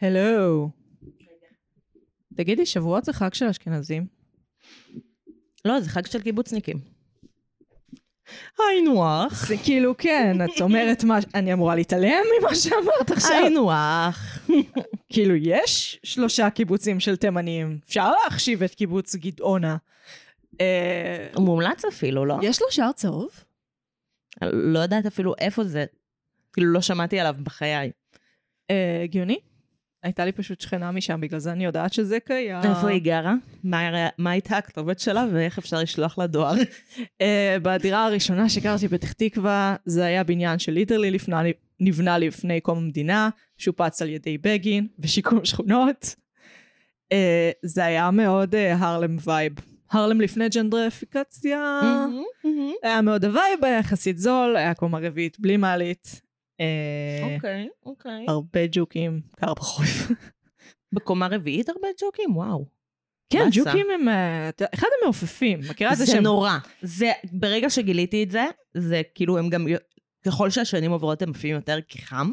הלו. תגידי, שבועות זה חג של אשכנזים? לא, זה חג של קיבוצניקים. היינו אח. זה כאילו, כן, את אומרת מה... אני אמורה להתעלם ממה שאמרת עכשיו? היינו אח. כאילו, יש שלושה קיבוצים של תימנים. אפשר להחשיב את קיבוץ גדעונה. אה, מומלץ אפילו, לא? יש לו שער צהוב? לא יודעת אפילו איפה זה. כאילו, לא שמעתי עליו בחיי. אה, הגיוני. הייתה לי פשוט שכנה משם, בגלל זה אני יודעת שזה קיים. איפה היא גרה? מה הרי- מה הייתה הכתובת שלה ואיך אפשר לשלוח לה דואר? אה, בדירה הראשונה שגרתי בפתח תקווה, זה היה בניין שליטרלי לפני- נבנה לפני קום המדינה, שופץ על ידי בגין ושיקום שכונות. אה, זה היה מאוד אה, הרלם וייב. הרלם לפני ג'נדריפיקציה. אה. היה מאוד הווייב, היה יחסית זול, היה קומה רביעית בלי מעלית. אה, אוקיי, אוקיי. הרבה ג'וקים, קר בחורף. בקומה רביעית הרבה ג'וקים? וואו. כן, באסה. ג'וקים הם... אה, אתה- אחד המעופפים, מכירה את זה זה שהם... נורא. זה, ברגע שגיליתי את זה, זה כאילו הם גם, ככל שהשנים עוברות הם עפים יותר כי חם,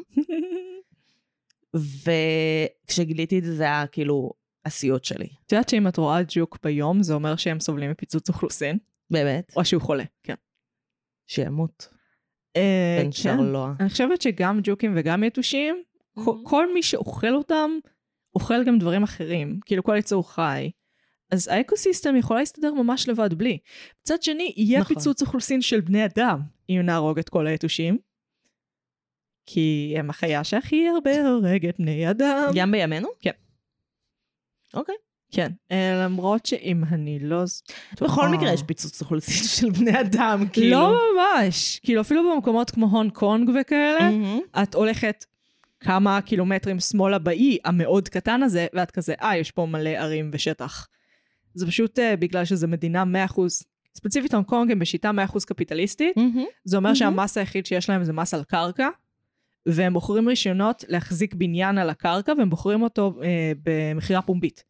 וכשגיליתי את זה זה היה כאילו הסיוט שלי, את יודעת שאם את רואה ג'וק ביום, זה אומר שהם סובלים מפיצוץ אוכלוסין, באמת. או שהוא חולה. כן. שימות, אה, בן כן. שרלואה. אני חושבת שגם ג'וקים וגם יתושים, כ- Mhm. כל מי שאוכל אותם, אוכל גם דברים אחרים. כאילו, כל יצור חי. אז האקוסיסטם יכול להסתדר ממש לבד בלי. מצד שני, יהיה נכון. פיצוץ אוכלוסין של בני אדם, אם נהרוג את כל היתושים. כי הם החיה שהכי הרבה הורגת בני אדם. גם בימינו? כן. אוקיי. כן. אה, למרות שאם אני לא... ז- בכל טועה- מקרה יש פיצוץ אוכלוסין של בני אדם, כאילו. אה. לא ממש. כאילו, אפילו במקומות כמו הונג קונג וכאלה, מהמם. את הולכת כמה קילומטרים שמאלה באי המאוד קטן הזה, ואת כזה, אה, יש פה מלא ערים ושטח. זה פשוט אה, בגלל שזו מדינה 100%, ספציפית הונג קונג הם בשיטה 100% קפיטליסטית, מהמם. זה אומר מהמם. שהמס היחיד שיש להם זה מס על קרקע, והם מוכרים רישיונות להחזיק בניין על הקרקע, והם מוכרים אותו אה, במכירה פומבית.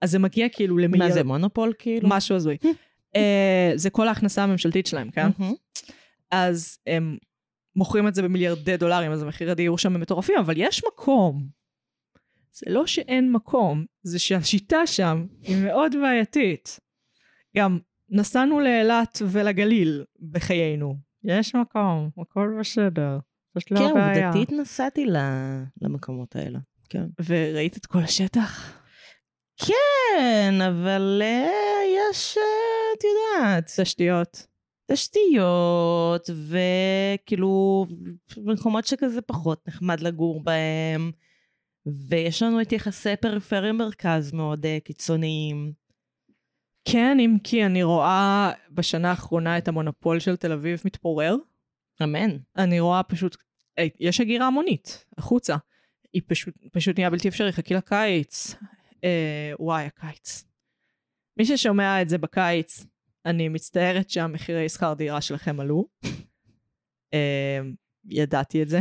אז זה מגיע כאילו מה זה, למיליארד, מונופול כאילו? משהו הזוי. אה, זה כל ההכנסה הממשלתית שלהם, כן? מהמם. אז הם מוכרים את זה במיליארדי דולרים, אז המחירי הדיור שם הם מטורפים, אבל יש מקום. זה לא שאין מקום, זה שהשיטה שם היא מאוד בעייתית. גם נסענו לאילת ולגליל בחיינו. יש מקום, הכל בסדר. לא יש כן, עובדתית נסעתי ל- למקומות האלה. כן. וראית את כל השטח? כן, אבל אה, יש, אה, את יודעת, תשתיות. תשתיות, וכאילו מקומות שכזה פחות נחמד לגור בהם, ויש לנו את יחסי פריפריה מרכז מאוד אה, קיצוניים. כן, אם כי אני רואה בשנה האחרונה את המונופול של תל אביב מתפורר. אמן. אני רואה פשוט, היי, יש הגירה המונית, החוצה. היא פשוט, פשוט נהיה בלתי אפשרי, חכי לקיץ. אה, וואי, הקיץ. מי ששומע את זה בקיץ, אני מצטערת שהמחירי שכר דירה שלכם עלו. אה, ידעתי את זה.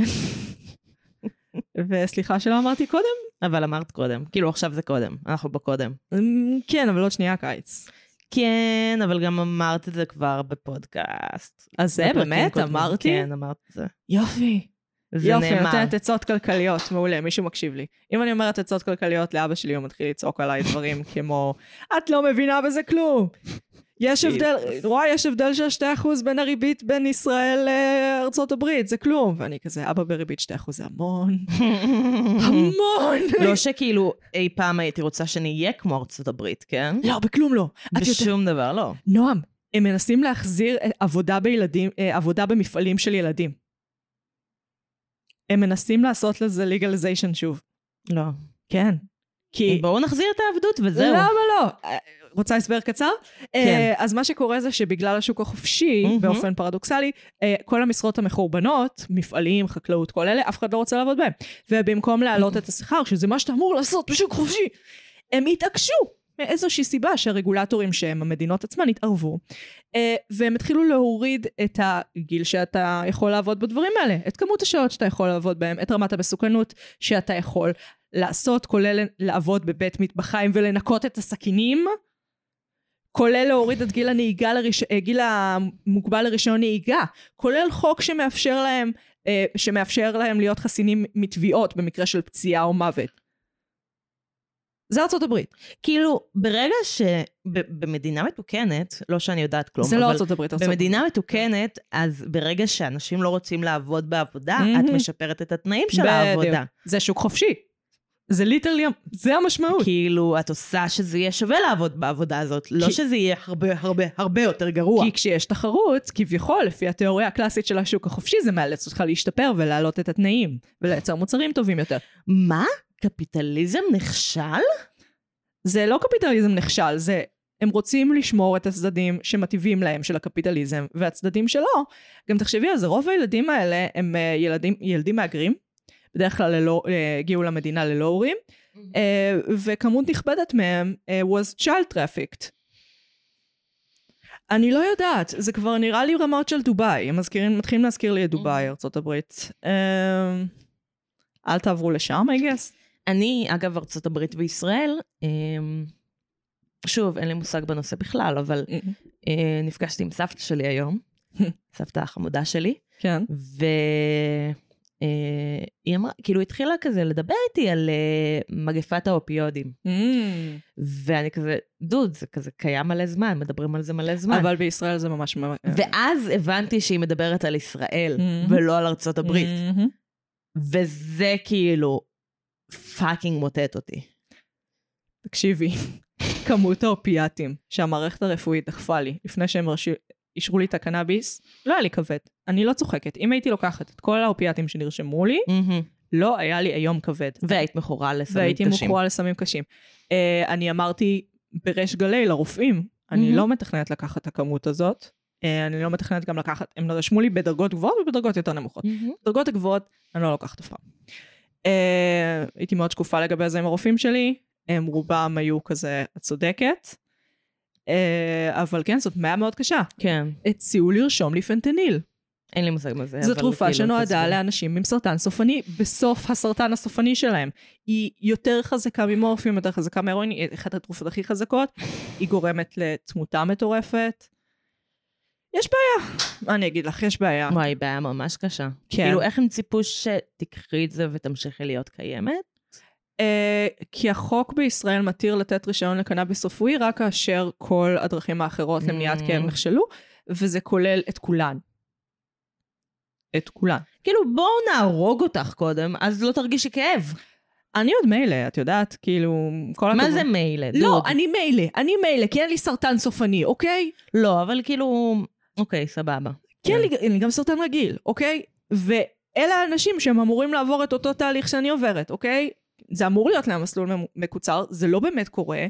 וסליחה שלא אמרתי קודם. אבל אמרת קודם, כאילו עכשיו זה קודם, אנחנו בקודם. אמ, כן, אבל עוד שנייה הקיץ. כן, אבל גם אמרת את זה כבר בפודקאסט. אז זה בפרקים באמת קודמים. אמרתי? כן, אמרת את זה. יופי. זה יופי, נאמר. נותנת עצות כלכליות, מעולה, מישהו מקשיב לי. אם אני אומרת עצות כלכליות לאבא שלי, הוא מתחיל לצעוק עליי דברים כמו, את לא מבינה בזה כלום. יש הבדל, Jesus. וואי, יש הבדל של 2% בין הריבית בין ישראל לארצות הברית, זה כלום. ואני כזה, אבא בריבית 2% זה המון. המון! לא שכאילו אי פעם הייתי רוצה שנהיה כמו ארצות הברית, כן? לא, בכלום לא. את יודעת, בשום דבר לא. נועם, הם מנסים להחזיר אה, עבודה בילדים, אה, עבודה במפעלים של ילדים. הם מנסים לעשות לזה legalization שוב. לא. כן. כי... בואו נחזיר את העבדות וזהו. למה לא? אה, רוצה הסבר קצר? כן. אה, אז מה שקורה זה שבגלל השוק החופשי, מהמם. באופן פרדוקסלי, אה, כל המשרות המחורבנות, מפעלים, חקלאות, כל אלה, אף אחד לא רוצה לעבוד בהם. ובמקום להעלות את השכר, שזה מה שאתה אמור לעשות בשוק חופשי, הם התעקשו. מאיזושהי סיבה שהרגולטורים שהם המדינות עצמן התערבו, אה, והם התחילו להוריד את הגיל שאתה יכול לעבוד בדברים האלה, את כמות השעות שאתה יכול לעבוד בהם, את רמת המסוכנות שאתה יכול לעשות, כולל לעבוד בבית מטבחיים ולנקות את הסכינים, כולל להוריד את גיל הנהיגה, לריש... אה, גיל המוגבל לרישיון נהיגה, כולל חוק שמאפשר להם, אה, שמאפשר להם להיות חסינים מתביעות במקרה של פציעה או מוות. זה ארצות הברית. כאילו, ברגע שבמדינה מתוקנת, לא שאני יודעת כלום, זה לא אבל ארצות הברית, ארצות הברית. במדינה מתוקנת, אז ברגע שאנשים לא רוצים לעבוד בעבודה, מהמם. את משפרת את התנאים של בדיוק. העבודה. זה שוק חופשי. זה ליטרלי, זה המשמעות. כאילו, את עושה שזה יהיה שווה לעבוד בעבודה הזאת, לא כי- שזה יהיה הרבה הרבה הרבה יותר גרוע. כי כשיש תחרות, כביכול, לפי התיאוריה הקלאסית של השוק החופשי, זה מאלץ אותך להשתפר ולהעלות את התנאים, ולייצר מוצרים טובים יותר. מה? קפיטליזם נכשל? זה לא קפיטליזם נכשל, זה... הם רוצים לשמור את הצדדים שמטיבים להם של הקפיטליזם, והצדדים שלא, גם תחשבי על זה, רוב הילדים האלה הם אה, ילדים, ילדים מהגרים, בדרך כלל ללא, אה, הגיעו למדינה ללא הורים, אה, וכמות נכבדת מהם אה, was child trafficked. אני לא יודעת, זה כבר נראה לי רמות של דובאי, הם מזכירים, מתחילים להזכיר לי את דובאי, Mhm. ארה"ב. אה, אל תעברו לשם, I guess. אני, אגב, ארצות הברית וישראל, אמ, שוב, אין לי מושג בנושא בכלל, אבל אה, נפגשתי עם סבתא שלי היום, סבתא החמודה שלי, כן. והיא אמרה, כאילו התחילה כזה לדבר איתי על אה, מגפת האופיודים. ואני כזה, דוד, זה כזה קיים מלא זמן, מדברים על זה מלא זמן. אבל כן. בישראל זה ממש... ממש- ואז הבנתי שהיא מדברת על ישראל, Mhm. ולא על ארצות הברית. Mhm. וזה כאילו פאקינג מוטט אותי. תקשיבי, כמות האופיאטים שהמערכת הרפואית דחפה לי לפני שהם הרשו- אישרו לי את הקנאביס, לא היה לי כבד. אני לא צוחקת. אם הייתי לוקחת את כל האופיאטים שנרשמו לי, לא היה לי היום כבד. והיית מכורה לסמים והייתי קשים. מכורה לסמים קשים. אה, אני אמרתי בריש גלי לרופאים, אני Mhm. לא מתכננת לקחת את הכמות הזאת. אה, אני לא מתכננת גם לקחת, הם רשמו לי בדרגות גבוהות ובדרגות יותר נמוכות. מהמם. בדרגות הגבוהות אני לא לוקחת אף פעם. אה, הייתי מאוד שקופה לגבי זה עם הרופאים שלי, הם רובם היו כזה, את צודקת. אה, אבל כן, זאת בעיה מאוד קשה. כן, הציעו לרשום לי פנטניל. אין לי מושג מה זה. זו אבל תרופה כאילו, שנועדה תסביר. לאנשים עם סרטן סופני, בסוף הסרטן הסופני שלהם. היא יותר חזקה ממורפיום, יותר חזקה מהרואין, היא אחת התרופות הכי חזקות, היא גורמת לתמותה מטורפת. יש בעיה, מה אני אגיד לך, יש בעיה. וואי, בעיה ממש קשה. כן. כאילו, איך הם ציפו שתיקחי את זה ותמשיכי להיות קיימת? אה, כי החוק בישראל מתיר לתת רישיון לקנאביס רפואי רק כאשר כל הדרכים האחרות למניעת Mm. כאב נכשלו, וזה כולל את כולן. את כולן. כאילו, בואו נהרוג אותך קודם, אז לא תרגישי כאב. אני עוד מילא, את יודעת, כאילו, כל מה הכבוד. זה מילא? לא, דוד? אני מילא, אני מילא, כי אין לי סרטן סופני, אוקיי? לא, אבל כאילו... אוקיי, סבבה. כי אין לי- אין לי כן, גם סרטן רגיל, אוקיי? ואלה האנשים שהם אמורים לעבור את אותו תהליך שאני עוברת, אוקיי? זה אמור להיות להם מסלול ממ- מקוצר, זה לא באמת קורה,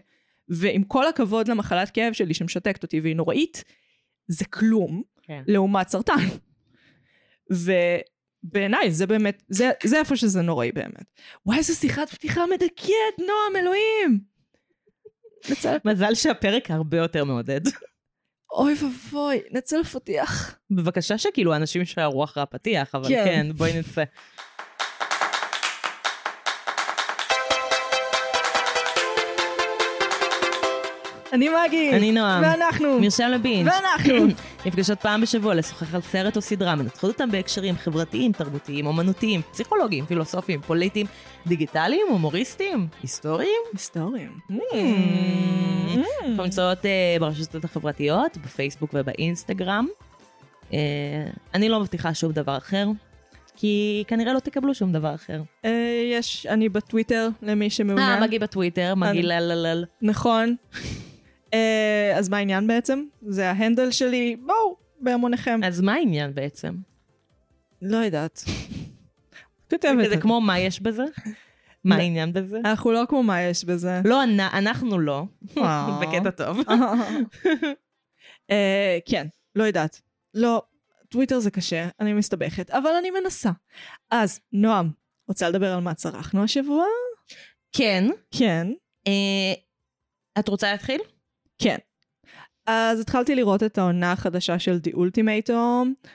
ועם כל הכבוד למחלת כאב שלי שמשתקת אותי והיא נוראית, זה כלום כן. לעומת סרטן. ובעיניי זה באמת, זה, זה איפה שזה נוראי באמת. וואי, איזו שיחת פתיחה מדכאת, נועם, אלוהים! נצל... מזל שהפרק הרבה יותר מעודד. אוי ואבוי, נצל פתיח. בבקשה שכאילו אנשים יישארו אחרי הפתיח, אבל כן. כן, בואי נצא. אני מגי. אני נועם. ואנחנו. מרשם לבינג'. ואנחנו. נפגשות פעם בשבוע לשוחח על סרט או סדרה, מנתחות אותם בהקשרים חברתיים, תרבותיים, אומנותיים, פסיכולוגיים, פילוסופיים, פוליטיים, דיגיטליים, הומוריסטיים, היסטוריים. היסטוריים. אנחנו נמצאות אה, ברשתות החברתיות, בפייסבוק ובאינסטגרם. אה, אני לא מבטיחה שום דבר אחר, כי כנראה לא תקבלו שום דבר אחר. אה, יש, אני בטוויטר למי אה, שמעוניין. מגי בטוויטר, מגי אני- לללל. נכון. אה, אז מה העניין בעצם? זה ההנדל שלי, בואו, בהמוניכם. אז מה העניין בעצם? לא יודעת. כותבת. זה כמו מה יש בזה? מה העניין בזה? אנחנו לא כמו מה יש בזה. לא, אנ- אנחנו לא. אה. בקטע טוב. אה, כן, לא יודעת. לא, טוויטר זה קשה, אני מסתבכת, אבל אני מנסה. אז, נועם, רוצה לדבר על מה צרכנו השבוע? כן. כן. אה, את רוצה להתחיל? כן. אז התחלתי לראות את העונה החדשה של The Ultimatum,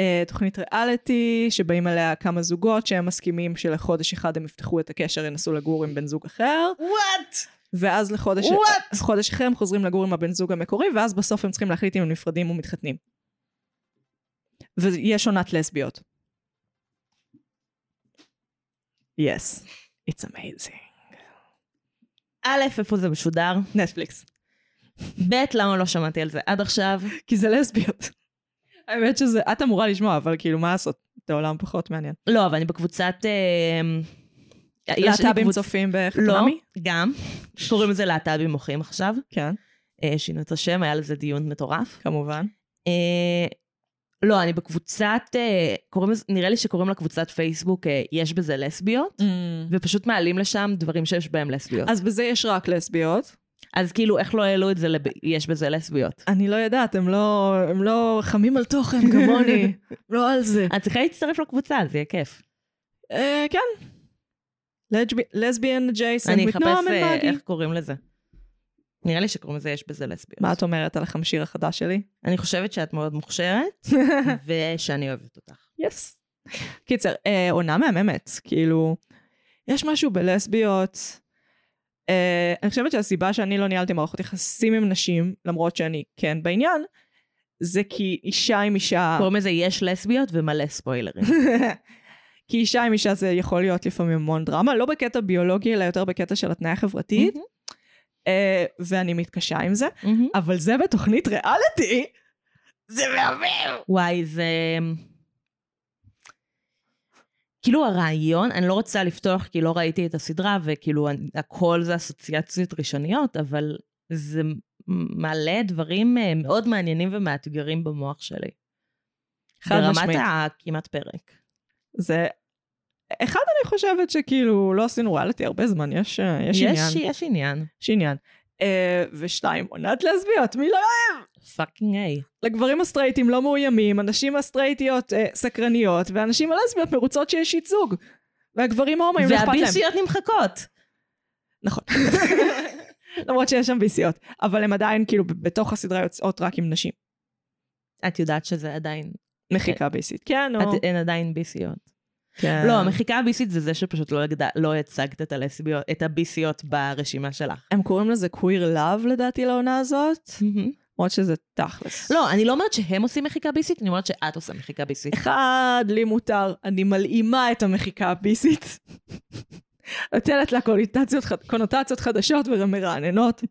אה, תוכנית ריאליטי, שבאים עליה כמה זוגות שהם מסכימים שלחודש אחד הם יפתחו את הקשר, ינסו לגור עם בן זוג אחר, וואט! ואז לחודש What? חודש אחר הם חוזרים לגור עם הבן זוג המקורי, ואז בסוף הם צריכים להחליט אם הם נפרדים או מתחתנים. ויש עונת לסביות. Yes, it's amazing. א', איפה זה משודר? נטפליקס. ב', למה לא שמעתי על זה עד עכשיו? כי זה לסביות. האמת שזה, את אמורה לשמוע, אבל כאילו, מה לעשות? את העולם פחות מעניין. לא, אבל אני בקבוצת... אמ, יש לי להט"בים קבוצ- צופים לא, בחתונמי? גם. קוראים לזה להט"בים מוחים עכשיו. כן, אה, שינו את השם, היה לזה דיון מטורף. כמובן. אה, לא, אני בקבוצת... אה, קוראים לזה- נראה לי שקוראים לה קבוצת פייסבוק אה, יש בזה לסביות, Mm. ופשוט מעלים לשם דברים שיש בהם לסביות. אז בזה יש רק לסביות. אז כאילו, איך לא העלו את זה לב... יש בזה לסביות? אני לא יודעת, הם לא, הם לא חמים על תוכן כמוני. לא על זה. את צריכה להצטרף לקבוצה, זה יהיה כיף. אה, כן. לסביאן ג'ייסון, אני אחפש אה, איך קוראים לזה. נראה לי שקוראים לזה יש בזה לסביות. מה את אומרת על החמשיר החדש שלי? אני חושבת שאת מאוד מוכשרת, ושאני אוהבת אותך. יס. קיצר, אה, עונה מהממת, כאילו, יש משהו בלסביות. אה, אני חושבת שהסיבה שאני לא ניהלתי מערכות יחסים עם נשים, למרות שאני כן בעניין, זה כי אישה עם אישה... קוראים לזה יש לסביות ומלא ספוילרים. כי אישה עם אישה זה יכול להיות לפעמים המון דרמה, לא בקטע ביולוגי, אלא יותר בקטע של התניה חברתית, אה, ואני מתקשה עם זה, מהמם. אבל זה בתוכנית ריאליטי, זה מהמם! וואי, זה... כאילו הרעיון, אני לא רוצה לפתוח כי לא ראיתי את הסדרה, וכאילו אני- הכל זה אסוציאציות ראשוניות, אבל זה מעלה דברים אה, מאוד מעניינים ומאתגרים במוח שלי. חד משמעית. ברמת הכמעט פרק. זה... אחד, אני חושבת שכאילו לא עשינו ריאליטי הרבה זמן, יש, אה, יש, יש עניין. יש עניין. יש עניין. אה, ושתיים, עונת לסביות, מי לא... פאקינג איי. לגברים הסטרייטים לא מאוימים, הנשים הסטרייטיות אה, סקרניות, והנשים הלסביות מרוצות שיש ייצוג. והגברים ההומואים לא אכפת להם. והביסיות נמחקות. נכון. למרות שיש שם ביסיות, אבל הם עדיין כאילו ב- בתוך הסדרה יוצאות רק עם נשים. את יודעת שזה עדיין, מחיקה ביסית. כן, נו. את- הן עדיין ביסיות. כן. לא, המחיקה הביסית זה זה שפשוט לא הגד- לא הצגת את הלסביות, את הביסיות ברשימה שלך. הם קוראים לזה קוויר לאב לדעתי לעונה הזאת, Mm-hmm. למרות שזה תכלס. לא, אני לא אומרת שהם עושים מחיקה ביסית, אני אומרת שאת עושה מחיקה ביסית. אחד, לי מותר, אני מלאימה את המחיקה הביסית. נותנת לה קונוטציות, חד- קונוטציות חדשות ומרעננות.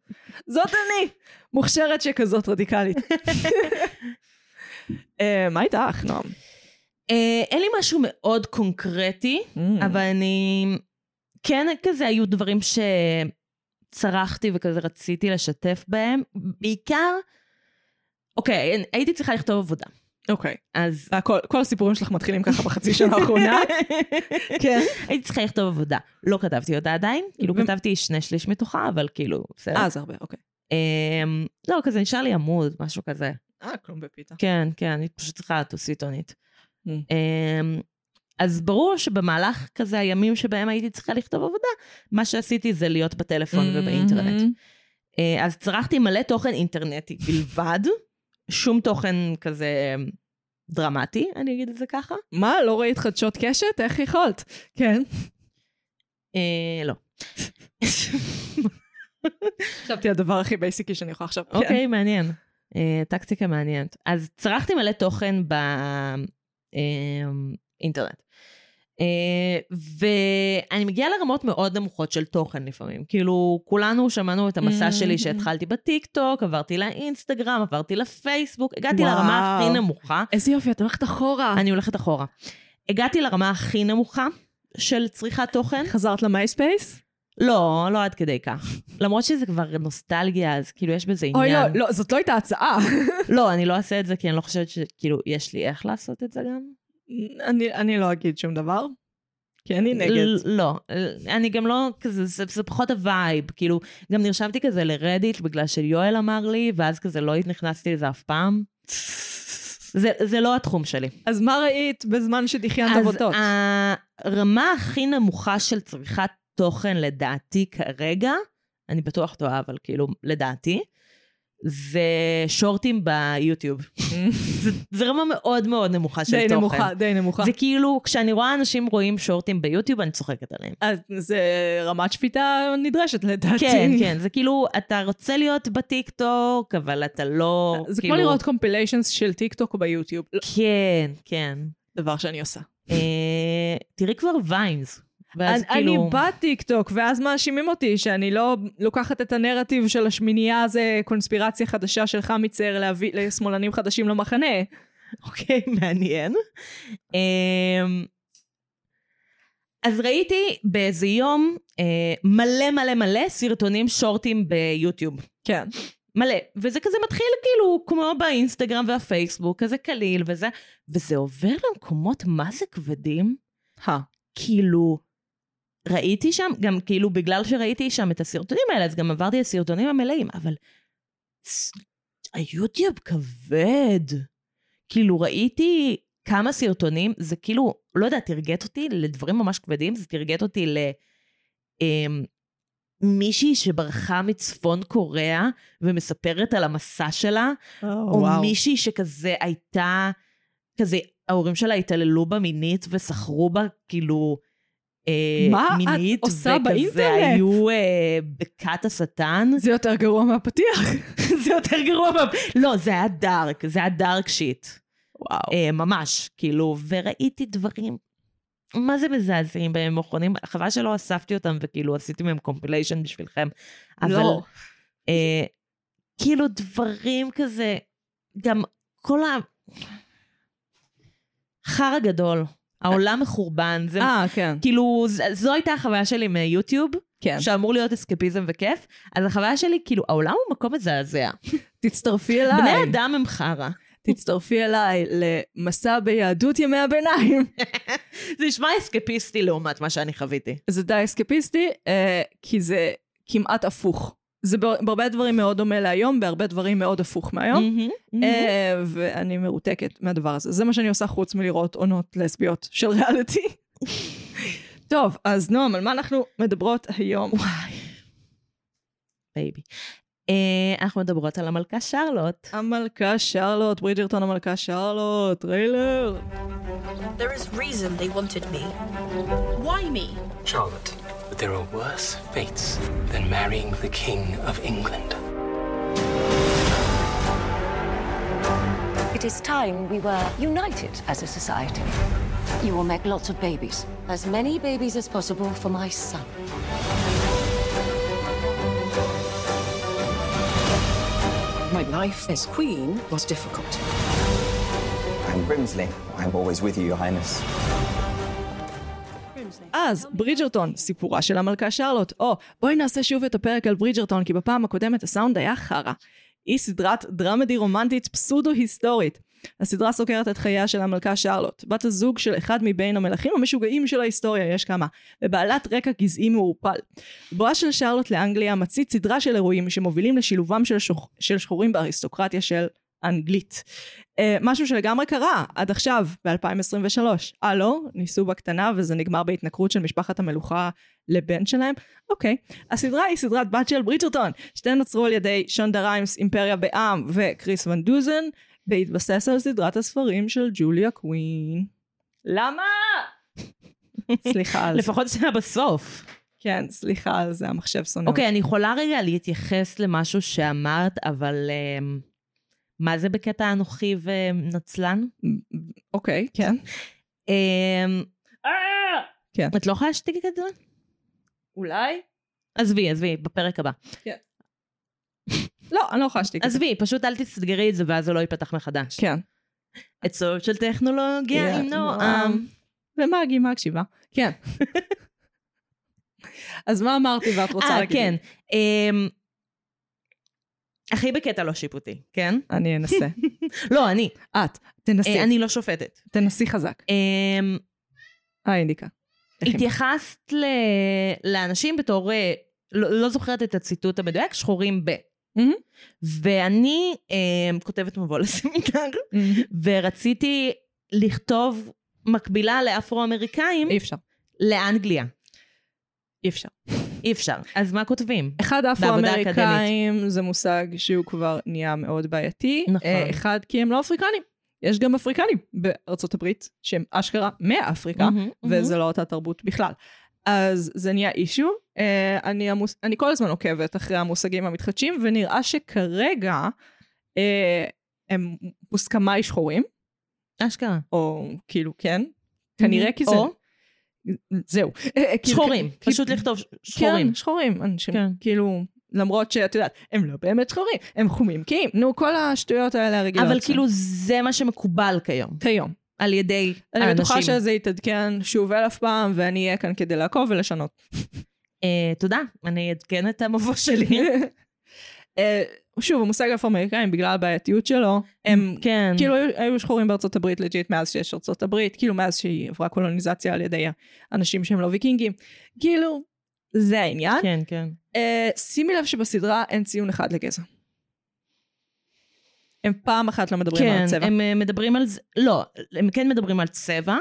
זאת אני, מוכשרת שכזאת רדיקלית. אה, מה איתך, נועם? אה, אין לי משהו מאוד קונקרטי, Mm. אבל אני... כן, כזה היו דברים שצרחתי וכזה רציתי לשתף בהם. בעיקר, אוקיי, אין- הייתי צריכה לכתוב עבודה. אוקיי. אז... והכל- כל הסיפורים שלך מתחילים ככה בחצי שנה האחרונה. כן. הייתי צריכה לכתוב עבודה. לא כתבתי אותה עדיין, כאילו ו- כתבתי שני שליש מתוכה, אבל כאילו, בסדר. אה, זה הרבה, אוקיי. אמ, לא, כזה נשאר לי עמוד, משהו כזה. אה, כלום בפיתה. כן, כן, אני פשוט צריכה טוסית עונית. Mm. אמ, אז ברור שבמהלך כזה הימים שבהם הייתי צריכה לכתוב עבודה, מה שעשיתי זה להיות בטלפון Mm. ובאינטרנט. אה, אז צרכתי מלא תוכן אינטרנטי בלבד, שום תוכן כזה אמ, דרמטי, אני אגיד את זה ככה. מה, לא ראית חדשות קשת? איך יכולת? כן. אה, לא. חשבתי הדבר הכי בייסיקי שאני יכולה עכשיו. כן. אוקיי, מעניין. אה, טקטיקה מעניינת. אז צרכתי מלא תוכן אה, באינטרנט. אה, ואני מגיעה לרמות מאוד נמוכות של תוכן לפעמים. כאילו, כולנו שמענו את המסע Mm-hmm. שלי שהתחלתי בטיקטוק, עברתי לאינסטגרם, עברתי לפייסבוק, הגעתי וואו. אה. לרמה הכי נמוכה. איזה יופי, את הולכת אחורה. אני הולכת אחורה. הגעתי לרמה הכי נמוכה של צריכת תוכן. חזרת למייספייס? לא, לא עד כדי כך. למרות שזה כבר נוסטלגיה, אז כאילו יש בזה עניין. אוי, לא, לא, זאת לא הייתה הצעה. לא, אני לא אעשה את זה כי אני לא חושבת שכאילו, יש לי איך לעשות את זה גם. אני- אני לא אגיד שום דבר, כי אני נגד. ל- לא, אני גם לא כזה, זה, זה פחות הווייב, כאילו, גם נרשמתי כזה לרדיט בגלל שיואל אמר לי, ואז כזה לא נכנסתי לזה אף פעם. זה, זה לא התחום שלי. אז מה ראית בזמן שדחיינת אז אה, עבודות? הרמה הכי נמוכה של צריכת תוכן לדעתי כרגע, אני בטוח טועה, אבל כאילו, לדעתי, זה שורטים ביוטיוב. זה, זה רמה מאוד מאוד נמוכה של די תוכן. נמוכה, די נמוכה. זה כאילו, כשאני רואה אנשים רואים שורטים ביוטיוב, אני צוחקת עליהם. אז זה רמת שפיטה נדרשת לדעתי. כן, כן, זה כאילו, אתה רוצה להיות בטיקטוק, אבל אתה לא... זה כאילו... כמו לראות קומפיליישנס של טיק טוק ביוטיוב. כן, כן. דבר שאני עושה. אה, תראי כבר ויימס. ואז אני, כאילו... אני בטיקטוק, ואז מאשימים אותי שאני לא לוקחת את הנרטיב של השמינייה, זה קונספירציה חדשה של חמיצר להביא לשמאלנים חדשים למחנה. אוקיי, מעניין. אמ, אז ראיתי באיזה יום אה, מלא מלא מלא סרטונים שורטים ביוטיוב. כן. מלא. וזה כזה מתחיל כאילו כמו באינסטגרם והפייסבוק, כזה קליל וזה, וזה עובר למקומות מה זה כבדים. כאילו, ראיתי שם, גם כאילו בגלל שראיתי שם את הסרטונים האלה, אז גם עברתי לסרטונים המלאים, אבל ס- היוטיוב כבד. כאילו, ראיתי כמה סרטונים, זה כאילו, לא יודע, תרגט אותי לדברים ממש כבדים, זה תרגט אותי ל... אמ, מישהי שברחה מצפון קוריאה ומספרת על המסע שלה, או וואו. מישהי שכזה הייתה, כזה, ההורים שלה התעללו בה מינית וסחרו בה, כאילו, אה, מה את מינית, עושה וכזה באינטרנט? היו אה, בכת השטן. זה יותר גרוע מהפתיח. זה יותר גרוע מה... לא, זה היה דארק, זה היה דארק שיט. וואו. אה, ממש, כאילו, וראיתי דברים, מה זה מזעזעים בהם אחרונים, חבל שלא אספתי אותם וכאילו עשיתי מהם קומפיליישן בשבילכם. אבל, לא. אה, כאילו דברים כזה, גם כל ה... חרא גדול, העולם מחורבן, זה... אה, כן. כאילו, ז- זו הייתה החוויה שלי מיוטיוב, כן. שאמור להיות אסקפיזם וכיף, אז החוויה שלי, כאילו, העולם הוא מקום מזעזע. תצטרפי אליי. בני אדם הם חרא. תצטרפי אליי למסע ביהדות ימי הביניים. זה נשמע אסקפיסטי לעומת מה שאני חוויתי. זה די אסקפיסטי, אה, כי זה כמעט הפוך. זה בר- בהרבה דברים מאוד דומה להיום, בהרבה דברים מאוד הפוך מהיום. מהמם, מהמם. אה, ואני מרותקת מהדבר הזה. זה מה שאני עושה חוץ מלראות עונות לסביות של ריאליטי. טוב, אז נועם, על מה אנחנו מדברות היום? וואי. בייבי. אה, אנחנו מדברות על המלכה אה, שרלוט. המלכה שרלוט, ברידג'רטון המלכה שרלוט, טריילר. There is reason they wanted me. Why me? Charlotte, but there are worse fates than marrying the King of England. It is time we were united as a society. You will make lots of babies. As many babies as possible for my son. My life as queen was difficult. I'm Brimsley. I'm always with you, Your Highness. אז, ברידג'רטון, סיפורה של המלכה שרלוט. או, בואי נעשה שוב את הפרק על ברידג'רטון, כי בפעם הקודמת הסאונד היה חרא. היא סדרת דרמדי רומנטית פסודו-היסטורית. הסדרה סוקרת את חייה של המלכה שרלוט, בת הזוג של אחד מבין המלכים המשוגעים של ההיסטוריה, יש כמה, ובעלת רקע גזעי מעורפל. בואה של שרלוט לאנגליה מצית סדרה של אירועים שמובילים לשילובם של, שוח... של שחורים באריסטוקרטיה של אנגלית. אה, משהו שלגמרי קרה עד עכשיו, ב-2023. אה לא? ניסו בקטנה וזה נגמר בהתנכרות של משפחת המלוכה לבן שלהם? אוקיי. הסדרה היא סדרת בת של ברידג'רטון. שתיהן נוצרו על ידי שונדה ריימס, אימפריה בעם וכריס ון דוזן, בהתבסס על סדרת הספרים של ג'וליה קווין. למה? סליחה על זה. לפחות זה היה בסוף. כן, סליחה על זה, המחשב שונא. אוקיי, אני יכולה רגע להתייחס למשהו שאמרת, אבל אמ, מה זה בקטע אנוכי ונצלן? אוקיי, כן. אמ, כן. את לא יכולה להשתיק את זה? אולי? עזבי, עזבי, בפרק הבא. לא, אני לא יכולה להשתיק את זה. עזבי, פשוט אל תסגרי את זה ואז זה לא ייפתח מחדש. כן. עצות של טכנולוגיה um, עם נועם. ומגי מקשיבה. כן. אז מה אמרתי ואת רוצה אה, להגיד? כן. אמ, הכי בקטע לא שיפוטי, כן? אני אנסה. לא, אני. את, תנסי. אה, אני לא שופטת. תנסי חזק. אמ, אה, אינדיקה. התייחסת ל... לאנשים בתור, אה, לא, לא זוכרת את הציטוט המדויק, שחורים ב. מהמם. ואני אה, כותבת מבוא לסמינר, ורציתי לכתוב מקבילה לאפרו-אמריקאים אי אפשר. לאנגליה. אי אפשר. אי אפשר. אז מה כותבים? אחד בעבודה אפרו-אמריקאים זה מושג שהוא כבר נהיה מאוד בעייתי. נכון. אה, אחד, כי הם לא אפריקנים. יש גם אפריקנים בארצות הברית שהם אשכרה מאפריקה, מהמם, וזה לא אותה תרבות בכלל. אז זה נהיה אישו. אה, אני, המוס... אני כל הזמן עוקבת אחרי המושגים המתחדשים, ונראה שכרגע אה, הם מוסכמי שחורים, אשכרה. או כאילו כן, כנראה כי זה... או? זהו. כאילו- שחורים, כאילו- פשוט לכתוב ש- שחורים. כן, שחורים. אנשים, כן. כאילו, למרות שאת יודעת, הם לא באמת שחורים, הם חומים. כי, נו, כל השטויות האלה הרגילות. אבל שם. כאילו זה מה שמקובל כיום, כיום. על ידי אני בטוחה האנשים. שזה יתעדכן שוב אלף פעם, ואני אהיה כאן כדי לעקוב ולשנות. אה, תודה, אני אעדכן את המבוא שלי. אה, שוב, המושג האפרו-אמריקאים, בגלל הבעייתיות שלו, הם כן. כאילו היו, היו שחורים בארצות הברית לג'יט מאז שיש ארצות הברית, כאילו מאז שהיא עברה קולוניזציה על ידי אנשים שהם לא ויקינגים. כאילו, זה העניין. כן, כן. אה, שימי לב שבסדרה אין ציון אחד לגזע. הם פעם אחת לא מדברים כן, על צבע. הם אה, מדברים על זה, לא, הם כן מדברים על צבע,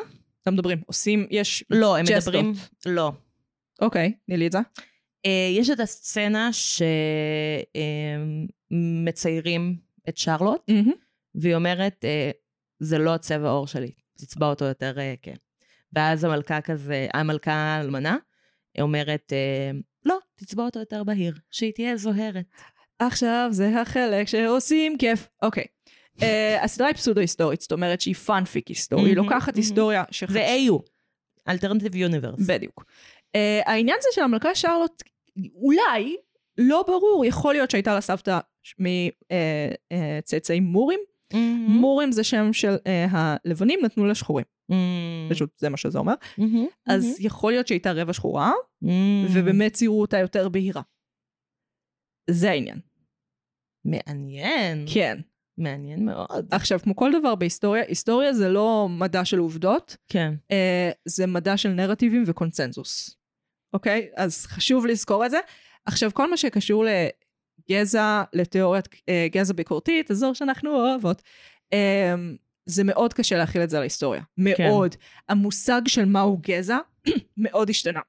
לא מדברים, עושים, יש... לא, הם ג'סטות. מדברים, לא. אוקיי, תני לי את זה. אה, יש את הסצנה שמציירים את שרלוט, מהמם. והיא אומרת, אה, זה לא הצבע העור שלי, תצבע אותו יותר אה, כן. ואז המלכה כזה, המלכה האלמנה, אומרת, אה, לא, תצבע אותו יותר בהיר, שהיא תהיה זוהרת. עכשיו זה החלק שעושים כיף. אוקיי. אה, הסדרה היא פסודו-היסטורית, זאת אומרת שהיא פאנפיק היסטורי, היא מהמם, לוקחת מהמם. היסטוריה שחש... זה AU, אלטרנטיב יוניברס. בדיוק. Uh, העניין זה שהמלכה שרלוט, אולי, לא ברור, יכול להיות שהייתה לה סבתא מצאצאים אה, מורים. Mm-hmm. מורים זה שם של uh, הלבנים, נתנו לה שחורים. Mm-hmm. פשוט זה מה שזה אומר. אז יכול להיות שהייתה רבע שחורה, Mm-hmm. ובאמת ציירו אותה יותר בהירה. זה העניין. מעניין, כן. מעניין מאוד. עכשיו, כמו כל דבר בהיסטוריה, היסטוריה זה לא מדע של עובדות, כן. אה, זה מדע של נרטיבים וקונצנזוס. אוקיי? אז חשוב לזכור את זה. עכשיו, כל מה שקשור לגזע, לתיאוריית אה, גזע ביקורתית, אזור שאנחנו אוהבות, אה, זה מאוד קשה להכיל את זה על ההיסטוריה. מאוד. המושג של מהו גזע מאוד השתנה.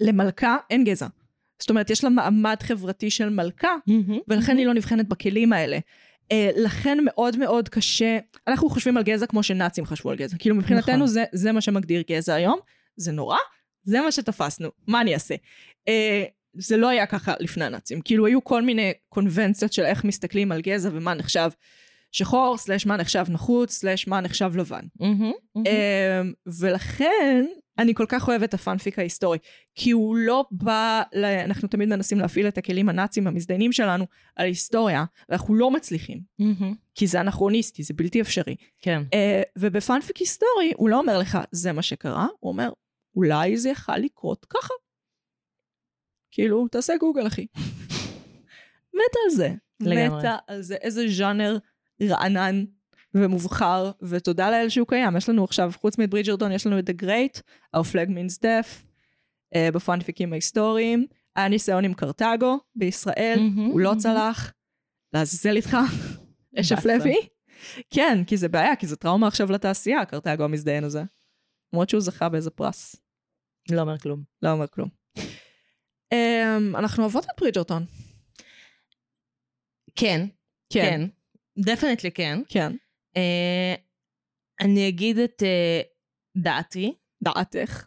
למלכה אין גזע. זאת אומרת, יש לה מעמד חברתי של מלכה, Mm. ולכן היא לא נבחנת בכלים האלה. אה, לכן מאוד מאוד קשה, אנחנו חושבים על גזע כמו שנאצים חשבו על גזע. כאילו מבחינתנו נכון. זה, זה מה שמגדיר גזע היום, זה נורא, זה מה שתפסנו, מה אני אעשה? אה, זה לא היה ככה לפני הנאצים. כאילו היו כל מיני קונבנציות של איך מסתכלים על גזע ומה נחשב שחור, סלש מה נחשב נחוץ, סלש מה נחשב לבן. אמ, ולכן אני כל כך אוהבת את הפאנפיק ההיסטורי, כי הוא לא בא, ל... אנחנו תמיד מנסים להפעיל את הכלים הנאצים המזדיינים שלנו על היסטוריה, ואנחנו לא מצליחים, כי זה אנכרוניסטי, זה בלתי אפשרי. כן. אה, ובפאנפיק היסטורי הוא לא אומר לך, זה מה שקרה, הוא אומר, אולי זה יכל לקרות ככה. כאילו, תעשה גוגל, אחי. מתה על זה. לגמרי. מתה על זה. איזה ז'אנר רענן ומובחר, ותודה לאל שהוא קיים. יש לנו עכשיו, חוץ מאת ברידג'רדון, יש לנו את The Great, Our Flag Means Death, אה, בפאנפיקים ההיסטוריים. היה ניסיון עם קרתגו בישראל, מהמם, הוא לא מהמם. צלח. לעזאזל איתך, אשף באסה. לוי. כן, כי זה בעיה, כי זה טראומה עכשיו לתעשייה, קרתגו המזדיין הזה. למרות שהוא זכה באיזה פרס. לא אומר כלום. לא אומר כלום. אמ, אנחנו אוהבות את ברידג'רטון. כן. כן. דפנטלי כן. כן. אה, אני אגיד את אה, דעתי. דעתך.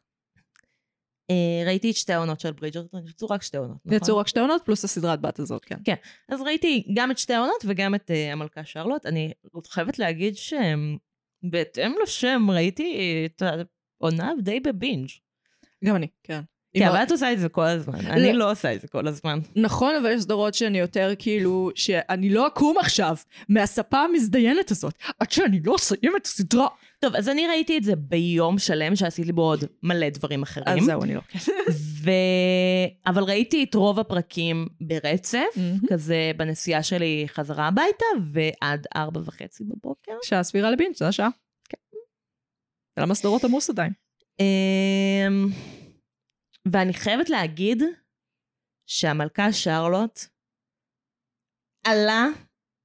אה, ראיתי את שתי העונות של ברידג'רטון, יצאו רק שתי עונות, נכון? יצאו רק שתי עונות פלוס הסדרת בת הזאת, כן. אז ראיתי גם את שתי העונות וגם את אה, המלכה שרלוט. אני חייבת להגיד שהם, בהתאם לשם, ראיתי את העונה די בבינג'. גם אני. כן. כן, עם אבל את עושה את זה כל הזמן. אני לא עושה את זה כל הזמן. נכון, אבל יש סדרות שאני יותר כאילו, שאני לא אקום עכשיו מהספה המזדיינת הזאת, עד שאני לא אסיים את הסדרה. טוב, אז אני ראיתי את זה ביום שלם, שעשיתי בו עוד מלא דברים אחרים. אז זהו, אני לא. ו... אבל ראיתי את רוב הפרקים ברצף, Mhm. כזה בנסיעה שלי חזרה הביתה, ועד ארבע וחצי בבוקר. שעה סבירה לבינג', זו השעה. כן. למה סדרות עמוס עדיין? אמ, ואני חייבת להגיד שהמלכה שרלוט עלה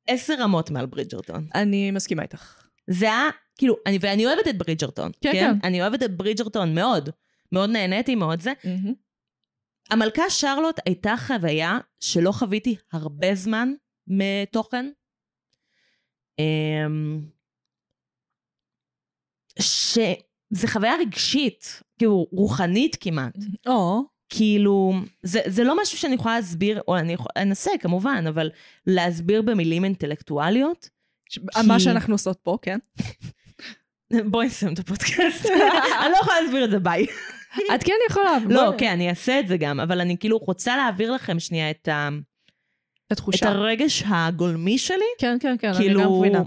עשר רמות מעל ברידג'רטון. אני מסכימה איתך. זה היה, כאילו, אני, ואני אוהבת את ברידג'רטון. כן, כן. אני אוהבת את ברידג'רטון מאוד. מאוד נהניתי מאוד זה. המלכה שרלוט הייתה חוויה שלא חוויתי הרבה זמן מתוכן. אמ, שזה חוויה רגשית, כאילו רוחנית כמעט. או, כאילו, זה, זה לא משהו שאני יכולה להסביר, או אני יכול- אנסה כמובן, אבל להסביר במילים אינטלקטואליות, ש- מה שאנחנו עושות פה, כן? בואי נסיים את הפודקאסט. אני לא יכולה להסביר את זה, ביי. את כן יכולה. לא, בואי. כן, אני אעשה את זה גם, אבל אני כאילו רוצה להעביר לכם שנייה את ה- את התחושה. הרגש הגולמי שלי. כן, כן, כן, אני גם כאילו... מבינה.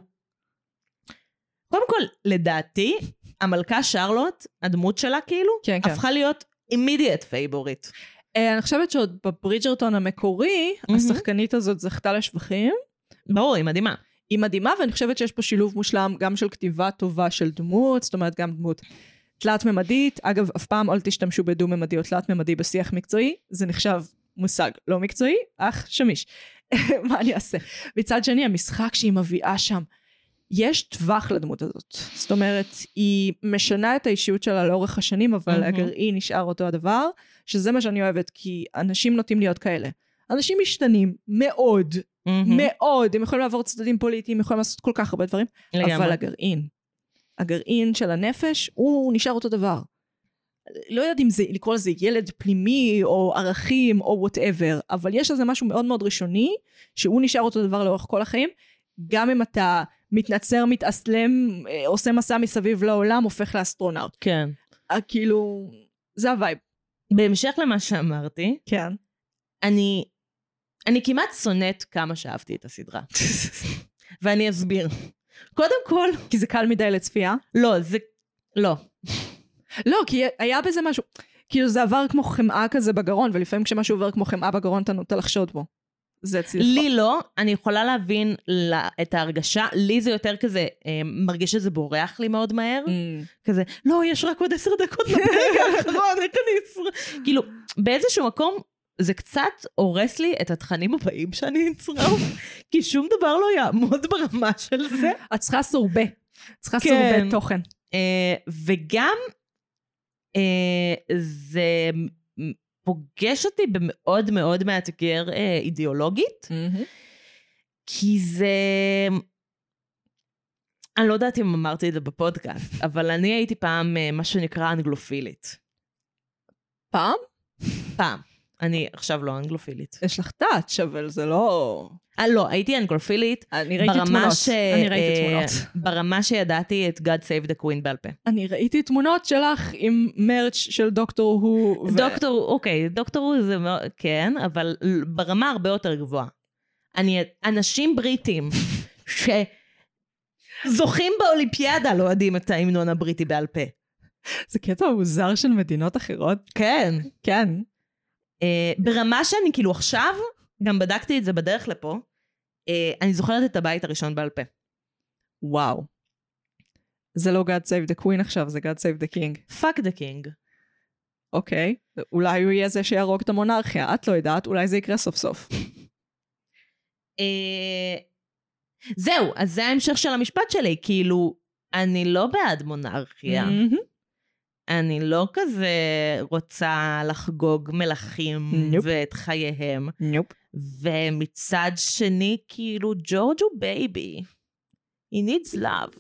קודם כל, לדעתי, המלכה שרלוט, הדמות שלה כאילו, כן, כן. הפכה להיות אימידיאט פייבוריט. אה, אני חושבת שעוד בברידג'רטון המקורי, מהמם. השחקנית הזאת זכתה לשבחים. ברור, היא מדהימה. היא מדהימה, ואני חושבת שיש פה שילוב מושלם גם של כתיבה טובה של דמות, זאת אומרת גם דמות תלת-ממדית. אגב, אף פעם אל תשתמשו בדו-ממדי או תלת-ממדי בשיח מקצועי, זה נחשב מושג לא מקצועי, אך שמיש. מה אני אעשה? מצד שני, המשחק שהיא מביאה שם, יש טווח לדמות הזאת. זאת אומרת, היא משנה את האישיות שלה לאורך השנים, אבל מהמם. הגרעין נשאר אותו הדבר, שזה מה שאני אוהבת, כי אנשים נוטים להיות כאלה. אנשים משתנים מאוד, מהמם. מאוד, הם יכולים לעבור צדדים פוליטיים, יכולים לעשות כל כך הרבה דברים, לגמרי. אבל הגרעין, הגרעין של הנפש, הוא נשאר אותו דבר. לא יודעת אם זה, לקרוא לזה ילד פנימי, או ערכים, או וואטאבר, אבל יש לזה משהו מאוד מאוד ראשוני, שהוא נשאר אותו דבר לאורך כל החיים, גם אם אתה מתנצר, מתאסלם, אה, עושה מסע מסביב לעולם, הופך לאסטרונאוט. כן. אה, כאילו, זה הווייב. בהמשך למה שאמרתי, כן. אני, אני כמעט שונאת כמה שאהבתי את הסדרה. ואני אסביר. קודם כל, כי זה קל מדי לצפייה. לא, זה... לא. לא, כי היה בזה משהו, כאילו זה עבר כמו חמאה כזה בגרון, ולפעמים כשמשהו עובר כמו חמאה בגרון אתה נוטה לחשוד בו. זה אצלי. לפחות. לי לא, אני יכולה להבין לה, את ההרגשה, לי זה יותר כזה, אה, מרגיש שזה בורח לי מאוד מהר. Mm. כזה, לא, יש רק עוד עשר דקות לפרק האחרון, איך אני אצרח? כאילו, באיזשהו מקום, זה קצת הורס לי את התכנים הבאים שאני אצרח, כי שום דבר לא יעמוד ברמה של זה. את צריכה סורבה. את צריכה כן. סורבה תוכן. אה, וגם, אה, זה מ- פוגש אותי במאוד מאוד מאתגר אה, אידיאולוגית, כי זה... אני לא יודעת אם אמרתי את זה בפודקאסט, אבל אני הייתי פעם אה, מה שנקרא אנגלופילית. פעם? פעם. אני עכשיו לא אנגלופילית. יש לך טאץ', אבל זה לא... אה, לא, הייתי אנגלופילית אני ראיתי ברמה תמונות. ש... אני ראיתי אה, תמונות. ברמה שידעתי את God Save the Queen בעל פה. אני ראיתי תמונות שלך עם מרץ' של דוקטור הוא. ו- דוקטור, אוקיי, דוקטור זה מאוד, כן, אבל ל- ברמה הרבה יותר גבוהה. אני, אנשים בריטים שזוכים באולימפיאדה לא יודעים את ההמנון הבריטי בעל פה. זה קטע מוזר של מדינות אחרות. כן. כן. אה, ברמה שאני כאילו עכשיו, גם בדקתי את זה בדרך לפה, אה, אני זוכרת את הבית הראשון בעל פה. וואו. זה לא God Save the Queen עכשיו, זה God Save the King. פאק דה קינג. אוקיי, אולי הוא יהיה זה שיהרוג את המונרכיה, את לא יודעת, אולי זה יקרה סוף סוף. אה, זהו, אז זה ההמשך של המשפט שלי, כאילו, אני לא בעד מונרכיה. מהמם. אני לא כזה רוצה לחגוג מלכים נופ. ואת חייהם. נופ. ומצד שני, כאילו, ג'ורג' הוא בייבי. He needs love.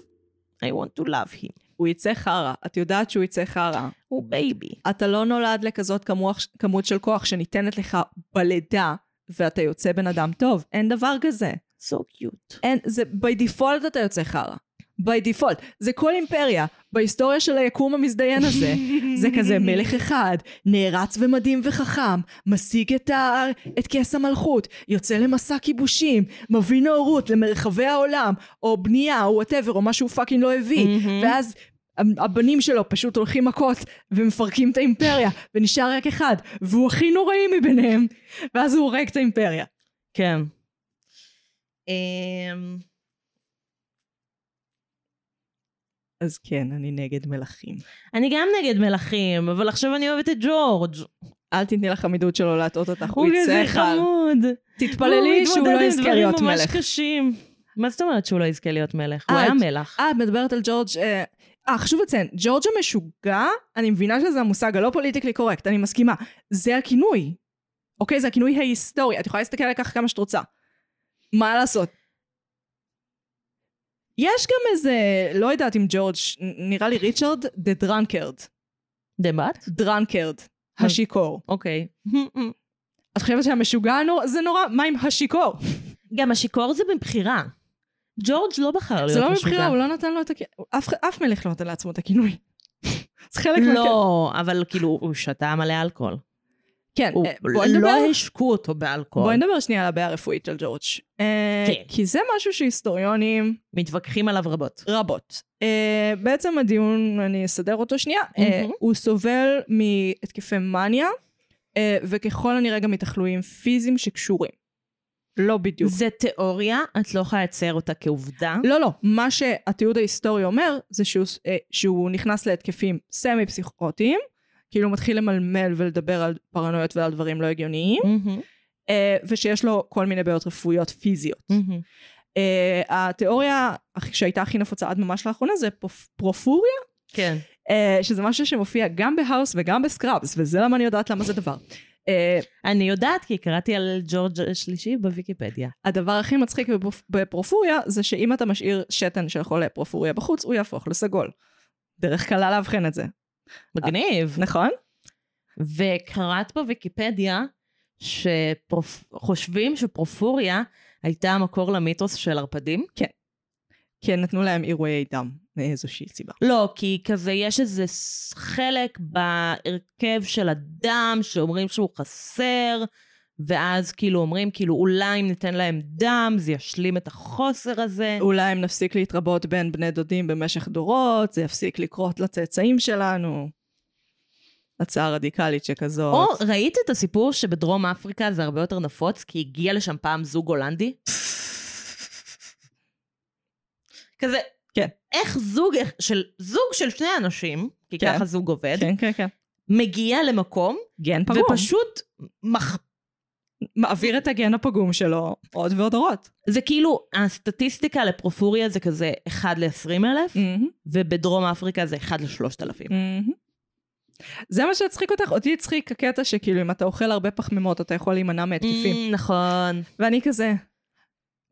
I want to love him. הוא יצא חרא, את יודעת שהוא יצא חרא. הוא בייבי. אתה לא נולד לכזאת כמוח, כמות של כוח שניתנת לך בלידה, ואתה יוצא בן אדם טוב, אין דבר כזה. So cute. אין, זה by default אתה יוצא חרא. by default. זה כל אימפריה. בהיסטוריה של היקום המזדיין הזה. זה כזה מלך אחד, נערץ ומדהים וחכם, משיג את, ה... את כס המלכות, יוצא למסע כיבושים, מביא נאורות למרחבי העולם, או בנייה, או וואטאבר, או מה שהוא פאקינג לא הביא. ואז הבנים שלו פשוט הולכים מכות ומפרקים את האימפריה, ונשאר רק אחד, והוא הכי נוראי מביניהם, ואז הוא הורג את האימפריה. כן. אמ, אז כן, אני נגד מלכים. אני גם נגד מלכים, אבל עכשיו אני אוהבת את ג'ורג'. אל תתני לחמידות שלו להטעות אותך, הוא הוא כזה יצא חל. חמוד. אוקיי, תתפללי שהוא לא יזכה הוא מתמודד עם להיות דברים מלך. ממש קשים. מה זאת אומרת שהוא לא יזכה להיות מלך? הוא אה, היה את- מלך. אה, את מדברת על ג'ורג'... אה, אה, חשוב לציין, ג'ורג' המשוגע, אני מבינה שזה המושג הלא פוליטיקלי קורקט, אני מסכימה. זה הכינוי. אוקיי? זה הכינוי ההיסטורי. את יכולה להסתכל על כך כמה שאת רוצה. מה לעשות? יש גם איזה, לא יודעת אם ג'ורג', נ- נראה לי ריצ'רד, דה דרנקרד. דמט? דרנקרד. השיכור. אוקיי. את חושבת שהמשוגע הנור- זה נורא? מה עם השיכור? גם השיכור זה מבחירה. ג'ורג' לא בחר זה לא להיות משוגע. מבחירה, הוא לא נתן לו את הכינוי. אף מלך לא נתן לעצמו את הכינוי. זה חלק מהכ- לא, אבל כאילו, הוא שתה מלא אלכוהול. כן, הוא אה, בואי לא נדבר השקו אותו באלכוהול. בואי נדבר שנייה על הבעיה הרפואית של ג'ורג'. אה, כן. כי זה משהו שהיסטוריונים מתווכחים עליו רבות. רבות. אה, בעצם הדיון, אני אסדר אותו שנייה, אה, מהמם. הוא סובל מהתקפי מניה, אה, וככל הנראה גם מתחלואים פיזיים שקשורים. לא בדיוק. זה תיאוריה, את לא יכולה לצייר אותה כעובדה. לא, לא, מה שהתיעוד ההיסטורי אומר, זה שהוא, אה, שהוא נכנס להתקפים סמי פסיכוטיים, כאילו הוא מתחיל למלמל ולדבר על פרנויות ועל דברים לא הגיוניים, מהמם, אה, ושיש לו כל מיני בעיות רפואיות פיזיות. מהמם. אה, התיאוריה הכי- שהייתה הכי נפוצה עד ממש לאחרונה זה פופ- פרופוריה, כן. אה, שזה משהו שמופיע גם בהאוס וגם בסקראבס, וזה למה אני יודעת למה זה דבר. אה, אני יודעת כי קראתי על ג'ורג' השלישי בוויקיפדיה. הדבר הכי מצחיק בפרופ- בפרופוריה זה שאם אתה משאיר שתן של חולה פרופוריה בחוץ, הוא יהפוך לסגול. דרך קלה לאבחן את זה. מגניב. נכון? וקראת בוויקיפדיה שחושבים שפרופוריה הייתה המקור למיתוס של ערפדים. כי הם נתנו להם אירועי דם, מאיזושהי סיבה. לא, כי כזה יש איזה ס- חלק בהרכב של הדם שאומרים שהוא חסר, ואז כאילו אומרים כאילו אולי אם ניתן להם דם זה ישלים את החוסר הזה. אולי אם נפסיק להתרבות בין בני דודים במשך דורות, זה יפסיק לקרות לצאצאים שלנו. הצעה רדיקלית שכזאת. או ראית את הסיפור שבדרום אפריקה זה הרבה יותר נפוץ כי הגיע לשם פעם זוג הולנדי? כזה, כן. איך זוג איך- של, זוג של שני אנשים, כי כן. ככה זוג עובד, כן, כן, כן. מגיע למקום גן פגום. ופשוט מח... מעביר את הגן הפגום שלו עוד ועוד דורות. זה כאילו, הסטטיסטיקה לפרופוריה זה כזה 1 ל-20 אלף, Mm. ובדרום אפריקה זה 1 ל-3,000. זה מה שהצחיק אותך? אותי הצחיק הקטע שכאילו אם אתה אוכל הרבה פחמימות אתה יכול להימנע מהתקפים. נכון. ואני כזה,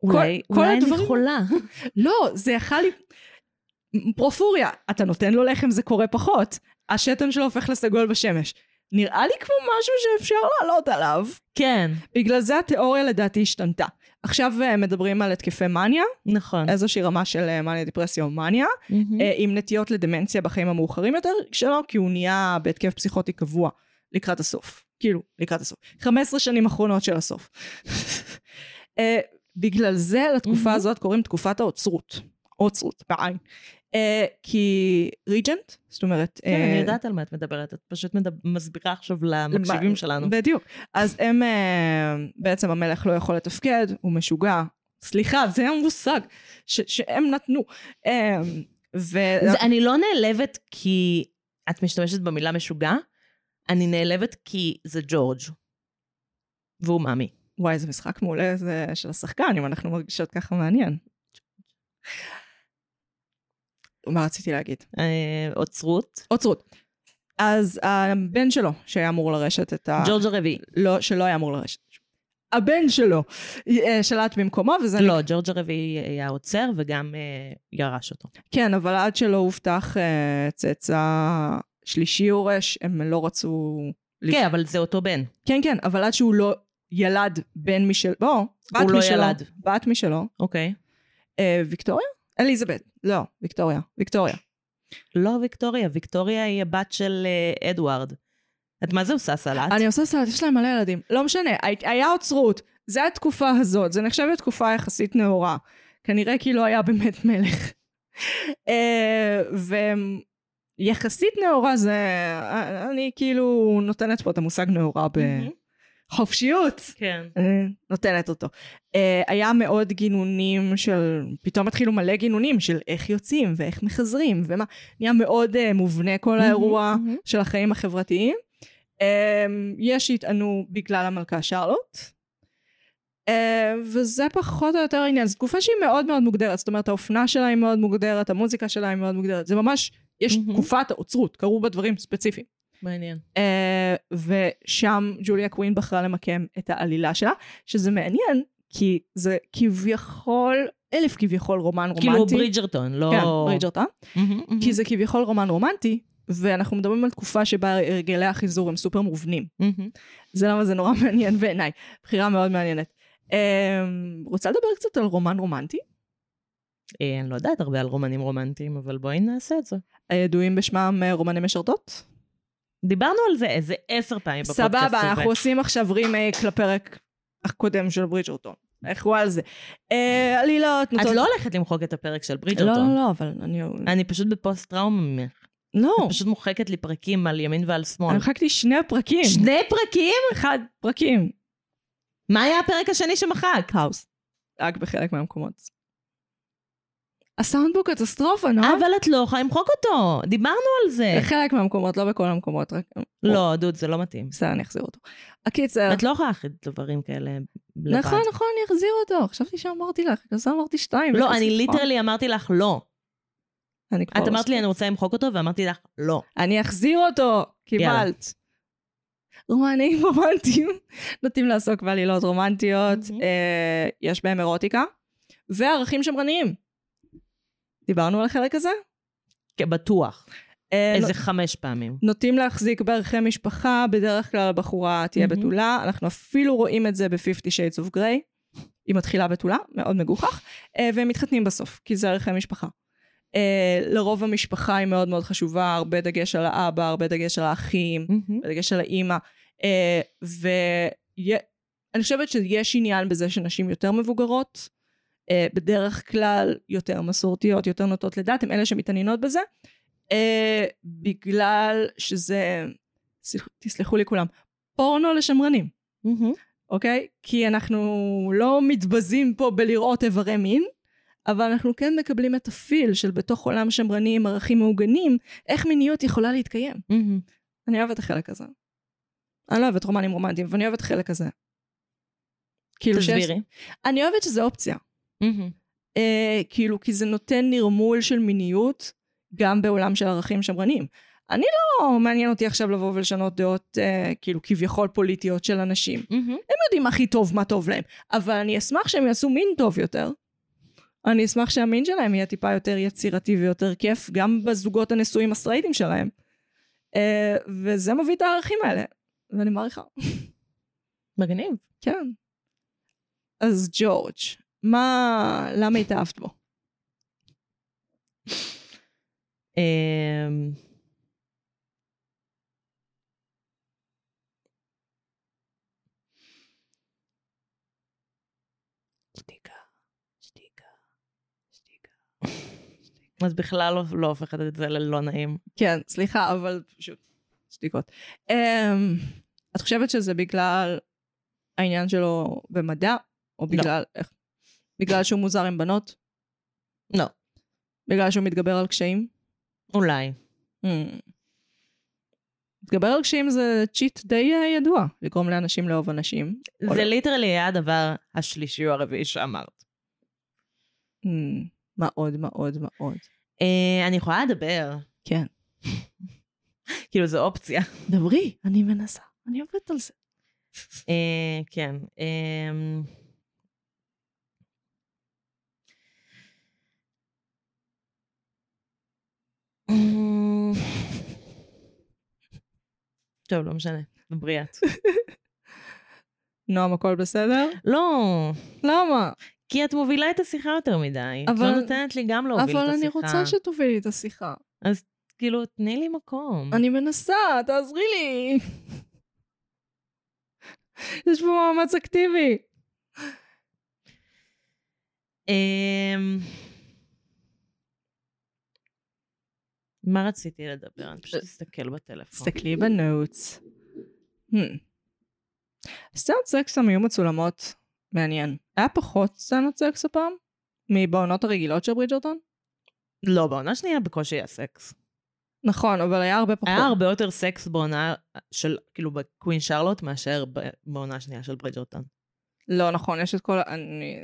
אולי, כל אולי אני הדברים- חולה. לא, זה יכל לי... פרופוריה, אתה נותן לו לחם זה קורה פחות, השתן שלו הופך לסגול בשמש. נראה לי כמו משהו שאפשר לעלות עליו. כן, בגלל זה התיאוריה לדעתי השתנתה. עכשיו אה, מדברים על התקפי מניה, נכון. איזושהי רמה של אה, מניה דיפרסיה או מניה. מהמם. אה, עם נטיות לדמנציה בחיים המאוחרים יותר שלו, כי הוא נהיה בהתקף פסיכוטי קבוע לקראת הסוף. כאילו, לקראת הסוף. 15 שנים אחרונות של הסוף. אה, בגלל זה לתקופה מהמם. הזאת קוראים תקופת האוצרות. אוצרות, בעין. אה, כי ריג'נט, זאת אומרת... כן, אה, אני יודעת על מה את מדברת, את פשוט מדב- מסבירה עכשיו למה- למקשיבים שלנו. בדיוק. אז הם, אה, בעצם המלך לא יכול לתפקד, הוא משוגע. סליחה, זה המושג ש- שהם נתנו. אה, ו... זה- אני לא נעלבת כי את משתמשת במילה משוגע, אני נעלבת כי זה ג'ורג'. והוא מאמי. וואי, זה משחק מעולה זה של השחקן, אם אנחנו מרגישות ככה מעניין. מה רציתי להגיד? אה, אוצרות. אוצרות. אז הבן שלו, שהיה אמור לרשת את ה... ג'ורג' הרביעי. לא, שלא היה אמור לרשת. הבן שלו אה, שלט במקומו, וזה... לא, ג'ורג' הרביעי היה עוצר וגם אה, ירש אותו. כן, אבל עד שלא הובטח אה, צאצא שלישי יורש, הם לא רצו... לפ- כן, אבל זה אותו בן. כן, כן, אבל עד שהוא לא ילד בן משלו... בוא, בת הוא לא משלו. ילד. בת משלו. אוקיי. אה, ויקטוריה? אליזבת. לא, ויקטוריה. ויקטוריה. לא ויקטוריה, ויקטוריה היא הבת של אה, אדוארד. את מה זה עושה סלט? אני עושה סלט, יש להם מלא ילדים. לא משנה, הי- היה עוצרות. זה התקופה הזאת, זה נחשב לתקופה יחסית נאורה. כנראה כי לא היה באמת מלך. אה, ויחסית נאורה זה... אני כאילו נותנת פה את המושג נאורה מהמם. בחופשיות. כן. אה, נותנת אותו. אה, היה מאוד גינונים של, פתאום התחילו מלא גינונים של איך יוצאים ואיך מחזרים ומה, נהיה מאוד אה, מובנה כל האירוע של החיים החברתיים. אה, יש שהטענו בגלל המלכה שרלוט. אה, וזה פחות או יותר העניין, זו תקופה שהיא מאוד מאוד מוגדרת, זאת אומרת האופנה שלה היא מאוד מוגדרת, המוזיקה שלה היא מאוד מוגדרת, זה ממש, יש מהמם. תקופת האוצרות, קרו בה דברים ספציפיים. מעניין. אה, ושם ג'וליה קווין בחרה למקם את העלילה שלה, שזה מעניין, כי זה כביכול, אלף כביכול רומן רומנטי. כאילו Mm-hmm. ברידג'רטון, לא... כן, ברידג'רטון. מהמם, מהמם. כי זה כביכול רומן רומנטי, ואנחנו מדברים על תקופה שבה הרגלי החיזור הם סופר מובנים. מהמם. זה למה זה נורא מעניין בעיניי. בחירה מאוד מעניינת. אה, רוצה לדבר קצת על רומן רומנטי? אה, אני לא יודעת הרבה על רומנים רומנטיים, אבל בואי נעשה את זה. הידועים בשמם אה, רומנים משרתות? דיברנו על זה איזה עשר פעמים בפודקאסט הזה. סבבה, אנחנו עושים עכשיו רימייק לפרק הקודם של ברידג'רטון. אנחנו על זה. אה, עלילות, את לא הולכת למחוק את הפרק של לא, ברידג'רטון. לא, לא, אבל אני... אני פשוט בפוסט טראומה ממך. לא. פשוט מוחקת לי פרקים על ימין ועל אני שמאל. מחקתי שני הפרקים. שני פרקים? אחד פרקים. מה היה הפרק השני שמחק? האוס. רק בחלק מהמקומות. הסאונד הוא קטסטרופה, נו. אבל את לא יכולה למחוק אותו, דיברנו על זה. בחלק מהמקומות, לא בכל המקומות, רק... לא, דוד, זה לא מתאים. בסדר, אני אחזיר אותו. הקיצר... את לא יכולה להכין דברים כאלה לבד. נכון, נכון, אני אחזיר אותו. חשבתי שאמרתי לך, אז אמרתי שתיים. לא, וכזה, אני נכון? ליטרלי אמרתי לך לא. אני כבר את אמרת לי עושה. אני רוצה למחוק אותו, ואמרתי לך לא. אני אחזיר אותו! יאללה. קיבלת. רומנים רומנטיים נוטים לעסוק בעלילות רומנטיות, מהמם. אה, יש בהם אירוטיקה, וערכים שמרניים. דיברנו על החלק הזה? כן, בטוח. אה, איזה חמש פעמים. נוטים להחזיק בערכי משפחה, בדרך כלל הבחורה תהיה מהמם. בתולה, אנחנו אפילו רואים את זה ב-50 Shades of Grey, היא מתחילה בתולה, מאוד מגוחך, אה, והם מתחתנים בסוף, כי זה ערכי משפחה. אה, לרוב המשפחה היא מאוד מאוד חשובה, הרבה דגש על האבא, הרבה דגש על האחים, בדגש על האימא, אה, ואני חושבת שיש עניין בזה שנשים יותר מבוגרות, אה, בדרך כלל יותר מסורתיות, יותר נוטות לדת, הן אלה שמתעניינות בזה, אה, בגלל שזה, סליח- תסלחו לי כולם, פורנו לשמרנים, מהמם. אוקיי? כי אנחנו לא מתבזים פה בלראות איברי מין. אבל אנחנו כן מקבלים את הפיל של בתוך עולם שמרני עם ערכים מעוגנים, איך מיניות יכולה להתקיים. מהמם. אני אוהבת את החלק הזה. אני לא אוהבת רומנים רומנטיים, ואני אוהבת החלק הזה. כאילו שיש- תסבירי. אני אוהבת שזה אופציה. מהמם. אה, כאילו, כי זה נותן נרמול של מיניות גם בעולם של ערכים שמרניים. אני לא מעניין אותי עכשיו לבוא ולשנות דעות אה, כאילו כביכול פוליטיות של אנשים. מהמם. הם יודעים הכי טוב מה טוב להם, אבל אני אשמח שהם יעשו מין טוב יותר. אני אשמח שהמין שלהם יהיה טיפה יותר יצירתי ויותר כיף, גם בזוגות הנשואים הסטרייטים שלהם. אה, וזה מביא את הערכים האלה, ואני מעריכה. מגניב. כן. אז ג'ורג', מה... למה התאהבת בו? אמ, אז בכלל לא- לא הופכת את זה ללא נעים. כן, סליחה, אבל פשוט שתיקות. אמ, את חושבת שזה בגלל העניין שלו במדע, או בגלל... איך? בגלל שהוא מוזר עם בנות? לא. בגלל שהוא מתגבר על קשיים? אולי. Hmm. להתגבר על קשיים זה צ'יט די אה, ידוע, לגרום לאנשים לאהוב אנשים. או זה לא. ליטרלי היה הדבר השלישי או הרביעי שאמרת. Hmm, מאוד מאוד מאוד. אה, אני יכולה לדבר. כן. כאילו, זו אופציה. דברי, אני מנסה, אני עובדת על זה. אה, כן. אמ, אמ, טוב, לא משנה. בריאה. נועם, הכל בסדר? לא, למה? כי את מובילה את השיחה יותר מדי. את אבל- לא נותנת לי גם להוביל את השיחה. אבל אני רוצה שתובילי את השיחה. כאילו, תני לי מקום. אני מנסה, תעזרי לי. יש פה מאמץ אקטיבי. אמ, מה רציתי לדבר? אני אה, פשוט אסתכל בטלפון. תסתכלי בנוטס. סצנות סקס שם היו מצולמות, מעניין. היה פחות סצנות סקס הפעם? מבעונות הרגילות של ברידג'רטון? לא, בעונה שנייה בקושי היה סקס. נכון, אבל היה הרבה פחות. היה הרבה יותר סקס בעונה של, כאילו, בקווין שרלוט מאשר ב- בעונה השנייה של ברידג'רטון. לא נכון, יש את כל... ה- אני...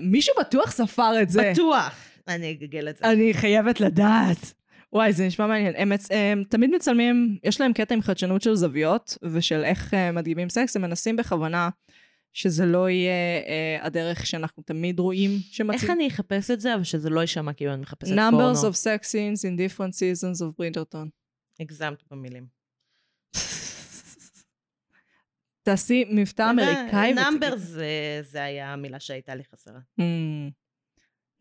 מישהו בטוח ספר את זה. בטוח! אני אגגל את זה. אני חייבת לדעת. וואי, זה נשמע מעניין. הם, מצ- הם תמיד מצלמים, יש להם קטע עם חדשנות של זוויות ושל איך אה, מדגימים סקס, הם מנסים בכוונה שזה לא יהיה אה, הדרך שאנחנו תמיד רואים איך שמציג. אני אחפש את זה, אבל שזה לא יישמע כאילו אני מחפשת פורנו. numbers of sex scenes in different seasons of ברינג'רטון. הגזמת במילים. תעשי מבטא אמריקאי. נאמבר ותגידי. זה היה המילה שהייתה לי חסרה. Hmm.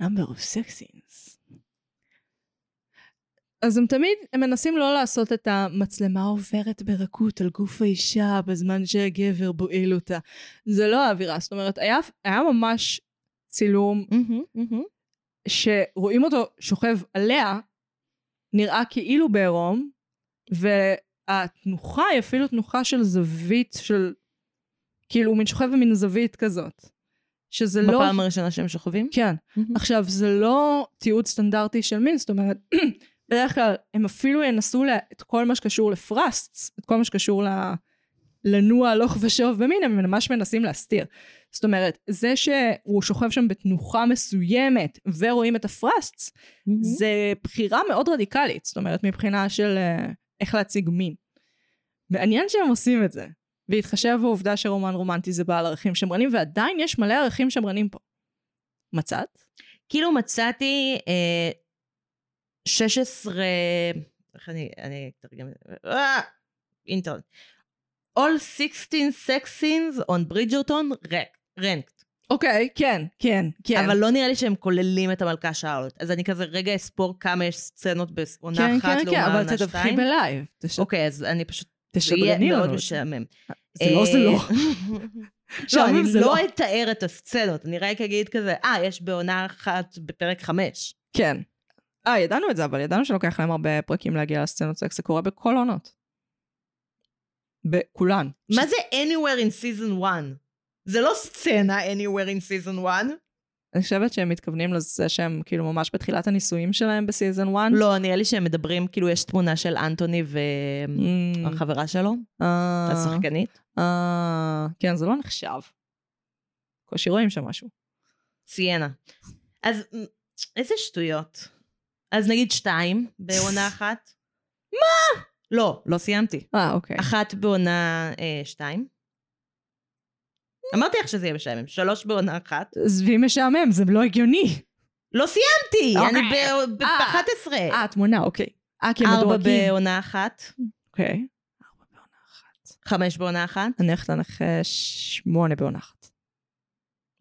number of sex scenes. אז הם תמיד, הם מנסים לא לעשות את המצלמה עוברת ברכות על גוף האישה בזמן שהגבר בועל אותה. זה לא האווירה, זאת אומרת, היה, היה ממש צילום מהמם, מהמם. שרואים אותו שוכב עליה, נראה כאילו בעירום, והתנוחה היא אפילו תנוחה של זווית של... כאילו הוא מין שוכב במין זווית כזאת. שזה לא... בפעם הראשונה שהם שוכבים? כן. מהמם. עכשיו, זה לא תיעוד סטנדרטי של מין, זאת אומרת, בדרך כלל הם אפילו ינסו לה, את כל מה שקשור לפרסטס, את כל מה שקשור ל, לנוע הלוך ושוב במין, הם ממש מנסים להסתיר. זאת אומרת, זה שהוא שוכב שם בתנוחה מסוימת ורואים את הפרסטס, מהמם. זה בחירה מאוד רדיקלית, זאת אומרת, מבחינה של אה, איך להציג מין. מעניין שהם עושים את זה, בהתחשב בעובדה שרומן רומנטי זה בעל ערכים שמרנים, ועדיין יש מלא ערכים שמרנים פה. מצאת? כאילו מצאתי אה, 16, איך אני, אני אתרגם את זה, אה, אינטרנט. All 16 sex scenes on Bridgerton rec- ranked. אוקיי, כן, כן, כן. אבל לא נראה לי שהם כוללים את המלכה שאולט. אז אני כזה רגע אספור כמה יש סצנות בעונה כן, אחת כן, כן, לעומת אבל עונה תדווחי שתיים. בלייב. תש- אוקיי, אז אני פשוט... זה יהיה תשדרני מאוד אה, לנו. את זה. משעמם. זה לא, זה לא. לא, משעמם אני זה לא לא. אתאר את הסצנות, אני רק אגיד כזה, אה, יש בעונה אחת בפרק חמש. כן. אה, ידענו את זה, אבל ידענו שלוקח להם הרבה פרקים להגיע לסצנות סקס, זה קורה בכל עונות. בכולן. מה זה anywhere in season 1? זה לא סצנה anywhere in season 1. אני חושבת שהם מתכוונים לזה שהם כאילו ממש בתחילת הניסויים שלהם בסיזון 1. לא, נראה לי שהם מדברים, כאילו יש תמונה של אנטוני Mm. והחברה שלו, השחקנית. אה, כן, זה לא נחשב. קושי רואים שם משהו. סיינה. אז מ, איזה שטויות. אז נגיד שתיים בעונה אחת. מה? לא, לא סיימתי. אה, אוקיי. אחת בעונה אה, שתיים. אמרתי לך שזה יהיה משעמם. שלוש בעונה אחת. עזבי משעמם, זה לא הגיוני. לא סיימתי! אני אוקיי. אה. ב-11. אה, התמונה, אוקיי. אה, כי הם ארבע מדורגים. בעונה אחת. אוקיי. ארבע בעונה אחת. חמש בעונה אחת. אני הולכת לנחש שמונה בעונה אחת.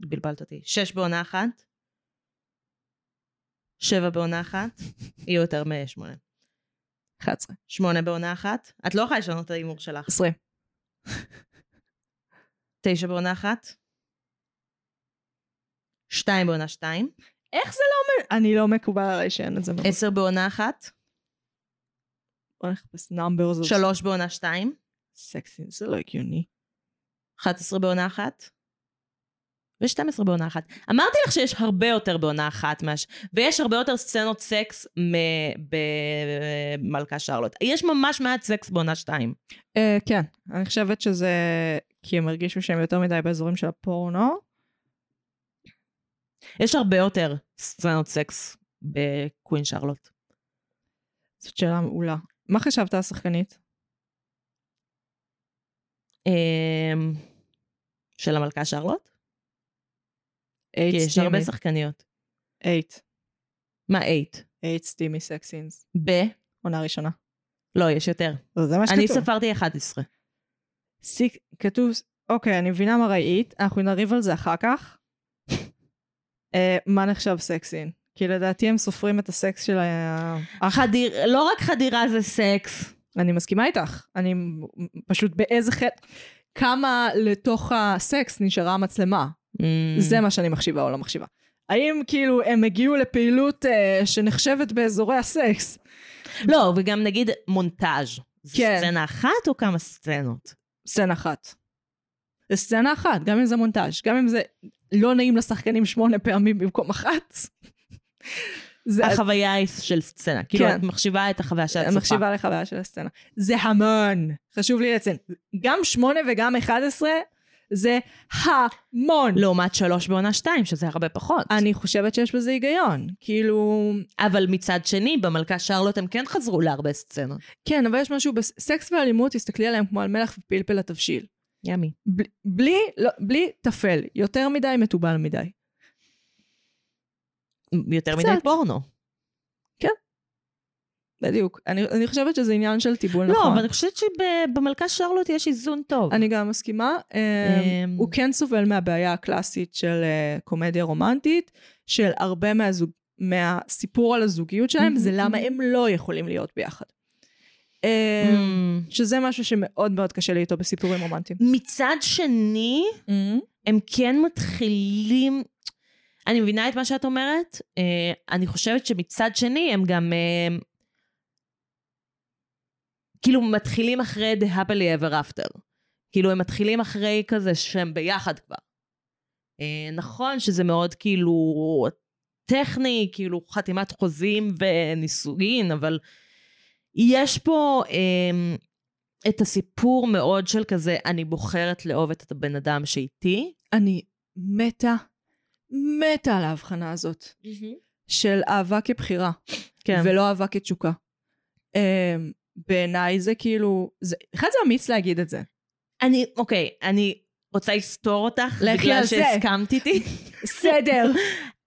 בלבלת אותי. שש בעונה אחת. שבע בעונה אחת. יהיו יותר משמונה. 11. שמונה בעונה אחת. את לא יכולה לשנות את ההימור שלך. 20. תשע בעונה אחת. שתיים בעונה שתיים. איך זה לא מ... אני לא מקובל עליי שאין את זה מראש. עשר בעונה אחת. אוקיי. בוא נחפש numbers of שלוש בעונה שתיים. sexing, זה לא הגיוני. אחת עשרה בעונה אחת. ושתים עשרה בעונה אחת. אמרתי לך שיש הרבה יותר בעונה אחת, מש... ויש הרבה יותר סצנות סקס מ- במלכה שרלוט. יש ממש מעט סקס בעונה שתיים. אה, כן, אני חושבת שזה כי הם הרגישו שהם יותר מדי באזורים של הפורנו. יש הרבה יותר סצנות סקס בקווין שרלוט. זאת שאלה מעולה. מה חשבת השחקנית? אמ, של המלכה שרלוט? כי יש הרבה שחקניות. אייט. מה, אייט? אייט סטימי סקסינס. ב? עונה ראשונה. לא, יש יותר. זה מה אני ספרתי 11. סיק, כתוב, אוקיי, אני מבינה מה ראית, אנחנו נריב על זה אחר כך. אה, מה נחשב סקסין? כי לדעתי הם סופרים את הסקס של ה... אח, חדיר, לא רק חדירה זה סקס. אני מסכימה איתך, אני מ- מ- פשוט באיזה חטא... כמה לתוך הסקס נשארה המצלמה? Mm. זה מה שאני מחשיבה או לא מחשיבה. האם כאילו הם הגיעו לפעילות אה, שנחשבת באזורי הסקס? לא, וגם נגיד מונטאז'. זה כן. סצנה אחת או כמה סצנות? סצנה אחת. זה סצנה אחת, גם אם זה מונטאז', גם אם זה לא נעים לשחקנים שמונה פעמים במקום אחת. זה החוויה היא של סצנה. כאילו, כן. את מחשיבה את החוויה של אני הצופה. מחשיבה לחוויה של הסצנה. זה המון, חשוב לי לציין. גם שמונה וגם אחד עשרה, זה המון. לעומת שלוש בעונה שתיים, שזה הרבה פחות. אני חושבת שיש בזה היגיון. כאילו, אבל מצד שני, במלכה שרלוט הם כן חזרו להרבה סצנות. כן, אבל יש משהו בסקס ואלימות, תסתכלי עליהם כמו על מלח ופלפל התבשיל. ימי. בלי, בלי, לא, בלי טפל, יותר מדי, מתובל מדי. יותר קצת. מדי פורנו. כן. בדיוק. אני, אני חושבת שזה עניין של טיבול לא, נכון. אבל אני חושבת שבמלכה שרלוט יש איזון טוב. אני גם מסכימה. אמ, אוקיי. אמ, הוא כן סובל מהבעיה הקלאסית של אה, קומדיה רומנטית, של הרבה מהזוג... מהסיפור על הזוגיות שלהם, Mm-hmm, זה למה הם לא יכולים להיות ביחד. אמ, אמ, שזה משהו שמאוד מאוד קשה לי איתו בסיפורים רומנטיים. מצד שני, הם כן מתחילים... אני מבינה את מה שאת אומרת. אה, אני חושבת שמצד שני הם גם... אה, כאילו מתחילים אחרי The Happily Ever After. כאילו הם מתחילים אחרי כזה שהם ביחד כבר. אה, נכון שזה מאוד כאילו טכני, כאילו חתימת חוזים ונישואין, אבל יש פה אה, את הסיפור מאוד של כזה, אני בוחרת לאהוב את הבן אדם שאיתי. אני מתה, מתה על ההבחנה הזאת Mm-hmm. של אהבה כבחירה, כן. ולא אהבה כתשוקה. אמ, בעיניי זה כאילו, זה- אחד זה אמיץ להגיד את זה. אני, אוקיי, אני רוצה לסתור אותך, לכי בגלל על זה. שהסכמת איתי. בסדר.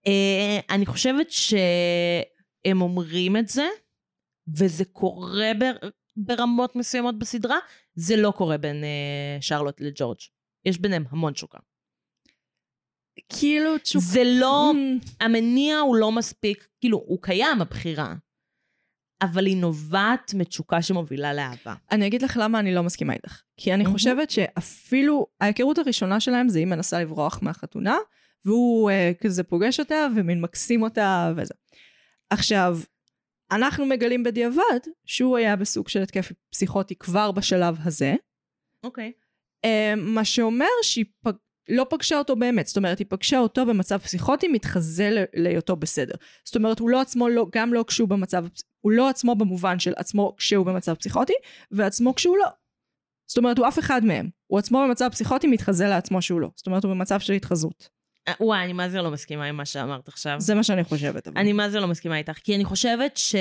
אה, אני חושבת שהם אומרים את זה, וזה קורה בר... ברמות מסוימות בסדרה, זה לא קורה בין אה, שרלוט לג'ורג'. יש ביניהם המון תשוקה. כאילו תשוקה. זה לא, אמ, המניע הוא לא מספיק, כאילו, הוא קיים, הבחירה, אבל היא נובעת מתשוקה שמובילה לאהבה. אני אגיד לך למה אני לא מסכימה איתך. כי אני מהמם. חושבת שאפילו ההיכרות הראשונה שלהם זה היא מנסה לברוח מהחתונה, והוא אה, כזה פוגש אותה ומין מקסים אותה וזה. עכשיו, אנחנו מגלים בדיעבד שהוא היה בסוג של התקף פסיכוטי כבר בשלב הזה, אוקיי. אה, מה שאומר שהיא פג... לא פגשה אותו באמת, זאת אומרת היא פגשה אותו במצב פסיכוטי מתחזה ל- להיותו בסדר. זאת אומרת הוא לא עצמו לא, גם לא כשהוא במצב, הפס- הוא לא עצמו במובן של עצמו כשהוא במצב פסיכוטי ועצמו כשהוא לא. זאת אומרת הוא אף אחד מהם, הוא עצמו במצב פסיכוטי מתחזה לעצמו שהוא לא, זאת אומרת הוא במצב של התחזות. אה, וואי, אני מה זה לא מסכימה עם מה שאמרת עכשיו. זה מה שאני חושבת. אבל. אני מה זה לא מסכימה איתך, כי אני חושבת ש...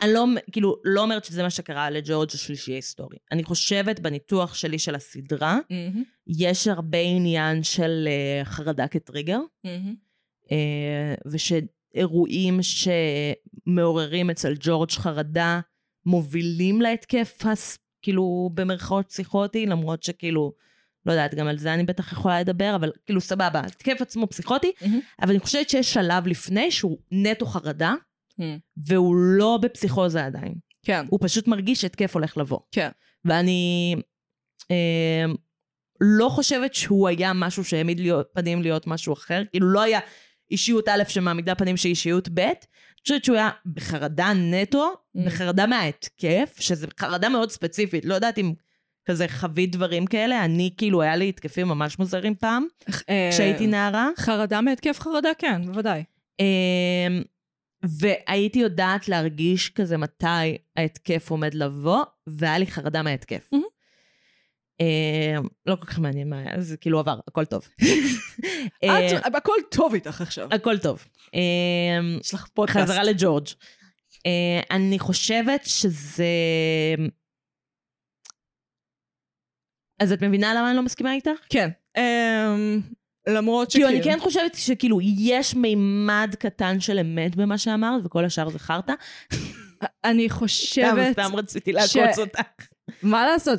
אני לא, כאילו, לא אומרת שזה מה שקרה לג'ורג' השלישי ההיסטורי. אני חושבת בניתוח שלי של הסדרה, מהמם, יש הרבה עניין של אה, חרדה כטריגר, מהמם. אה, ושאירועים שמעוררים אצל ג'ורג' חרדה מובילים להתקף, הס, כאילו, במרכאות פסיכוטי, למרות שכאילו, לא יודעת, גם על זה אני בטח יכולה לדבר, אבל כאילו, סבבה, התקף עצמו פסיכוטי, מהמם. אבל אני חושבת שיש שלב לפני שהוא נטו חרדה, Mm. והוא לא בפסיכוזה עדיין. כן. הוא פשוט מרגיש שהתקף הולך לבוא. כן. ואני אה, לא חושבת שהוא היה משהו שהעמיד להיות, פנים להיות משהו אחר, כאילו לא היה אישיות א' שמעמידה פנים שהיא אישיות ב', אני חושבת שהוא היה בחרדה נטו, Mm. בחרדה מההתקף, שזה חרדה מאוד ספציפית, לא יודעת אם כזה חווית דברים כאלה, אני כאילו היה לי התקפים ממש מוזרים פעם, אה, כשהייתי נערה. חרדה מהתקף חרדה כן, בוודאי. אמ, והייתי יודעת להרגיש כזה מתי ההתקף עומד לבוא, והיה לי חרדה מההתקף. מהמם. אמ, לא כל כך מעניין מה היה, זה כאילו עבר, הכל טוב. אמ, את- הכל טוב איתך עכשיו. הכל טוב. אמ, יש לך פודקאסט. חזרה לג'ורג'. אה, אני חושבת שזה... אז את מבינה למה אני לא מסכימה איתך? כן. אמ, למרות כאילו, שכאילו... אני כן חושבת שכאילו, יש מימד קטן של אמת במה שאמרת, וכל השאר זה חרטא. אני חושבת, סתם רציתי ש- לעקוץ אותך. מה לעשות,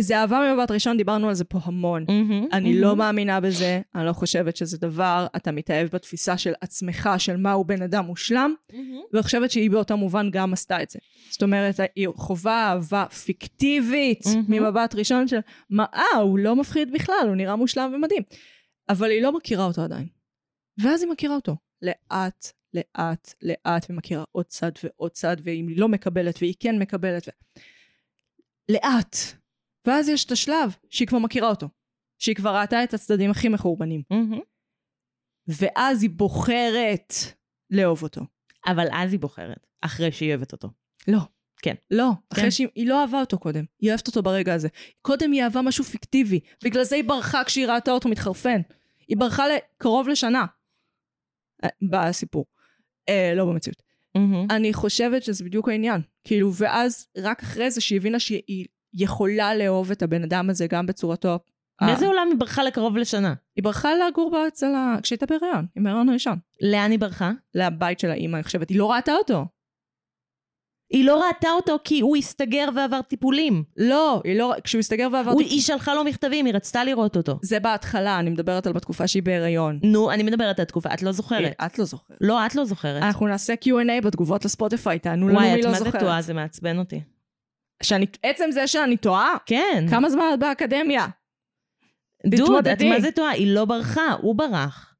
זה אהבה ממבט ראשון, דיברנו על זה פה המון. אני לא מאמינה בזה, אני לא חושבת שזה דבר, אתה מתאהב בתפיסה של עצמך, של מהו בן אדם מושלם, ואני חושבת שהיא באותו מובן גם עשתה את זה. זאת אומרת, היא חווה אהבה פיקטיבית מהמם. ממבט ראשון של, מה, אה, הוא לא מפחיד בכלל, הוא נראה מושלם ומדהים. אבל היא לא מכירה אותו עדיין. ואז היא מכירה אותו. לאט, לאט, לאט, ומכירה עוד צד ועוד צד, והיא לא מקבלת, והיא כן מקבלת. ו... לאט. ואז יש את השלב שהיא כבר מכירה אותו. שהיא כבר ראתה את הצדדים הכי מחורבנים. מהמם. ואז היא בוחרת לאהוב אותו. אבל אז היא בוחרת, אחרי שהיא אוהבת אותו. לא. כן. לא, כן. אחרי שהיא היא לא אהבה אותו קודם, היא אוהבת אותו ברגע הזה. קודם היא אהבה משהו פיקטיבי, בגלל זה היא ברחה כשהיא ראתה אותו מתחרפן. היא ברחה לקרוב לשנה. אה, בסיפור. אה, לא במציאות. אני חושבת שזה בדיוק העניין. כאילו, ואז רק אחרי זה שהיא הבינה שהיא יכולה לאהוב את הבן אדם הזה גם בצורתו... ה- באיזה עולם היא ברחה לקרוב לשנה? היא ברחה לגור אצל ה... כשהייתה בהיריון, עם ההיריון הראשון. לאן היא ברחה? לבית של האימא, אני חושבת. היא לא ראתה אותו. היא לא ראתה אותו כי הוא הסתגר ועבר טיפולים. לא, היא לא... כשהוא הסתגר ועבר... הוא, טיפ- היא שלחה לו מכתבים, היא רצתה לראות אותו. זה בהתחלה, אני מדברת על בתקופה שהיא בהיריון. נו, אני מדברת על התקופה, את לא זוכרת. את לא זוכרת. לא, את לא זוכרת. אנחנו נעשה Q&A בתגובות לספוטיפיי, תענו אה, לנו וואי, מי את לא מה זה טועה? זוכרת. זה מעצבן אותי. שאני- עצם זה שאני טועה, כן. כמה זמן את באקדמיה? דוד, את תתמודדי. מה זה טועה? היא לא ברחה, הוא ברח.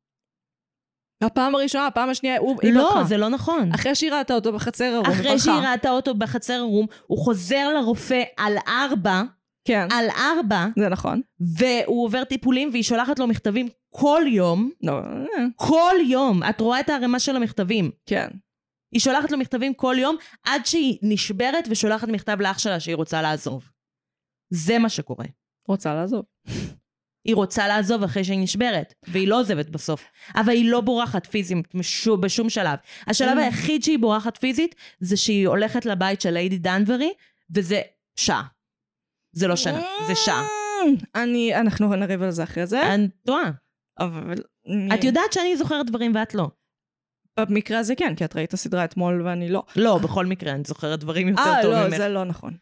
הפעם הראשונה, הפעם השנייה, הוא... היא לא, ברחה. זה לא נכון. אחרי שהיא ראתה אותו בחצר ההוא, אחרי שהיא ראתה אותו בחצר הרום, הוא חוזר לרופא על ארבע, כן, על ארבע, זה נכון. והוא עובר טיפולים והיא שולחת לו מכתבים כל יום. לא, אה, כל יום. את רואה את הערימה של המכתבים. כן. היא שולחת לו מכתבים כל יום, עד שהיא נשברת ושולחת מכתב לאח שלה שהיא רוצה לעזוב. זה מה שקורה. רוצה לעזוב. היא רוצה לעזוב אחרי שהיא נשברת, והיא לא עוזבת בסוף. אבל היא לא בורחת פיזית משו- בשום שלב. השלב היחיד שהיא בורחת פיזית, זה שהיא הולכת לבית של ליידי דנברי, וזה שעה. זה לא שנה, זה שעה. אה, אני, אנחנו נריב על זה אחרי זה. אני טועה. אבל... את יודעת שאני זוכרת דברים ואת לא. במקרה הזה כן, כי את ראית את הסדרה אתמול ואני לא. לא, בכל מקרה, אני זוכרת דברים יותר אה, טוב ממך. לא, זה לא נכון.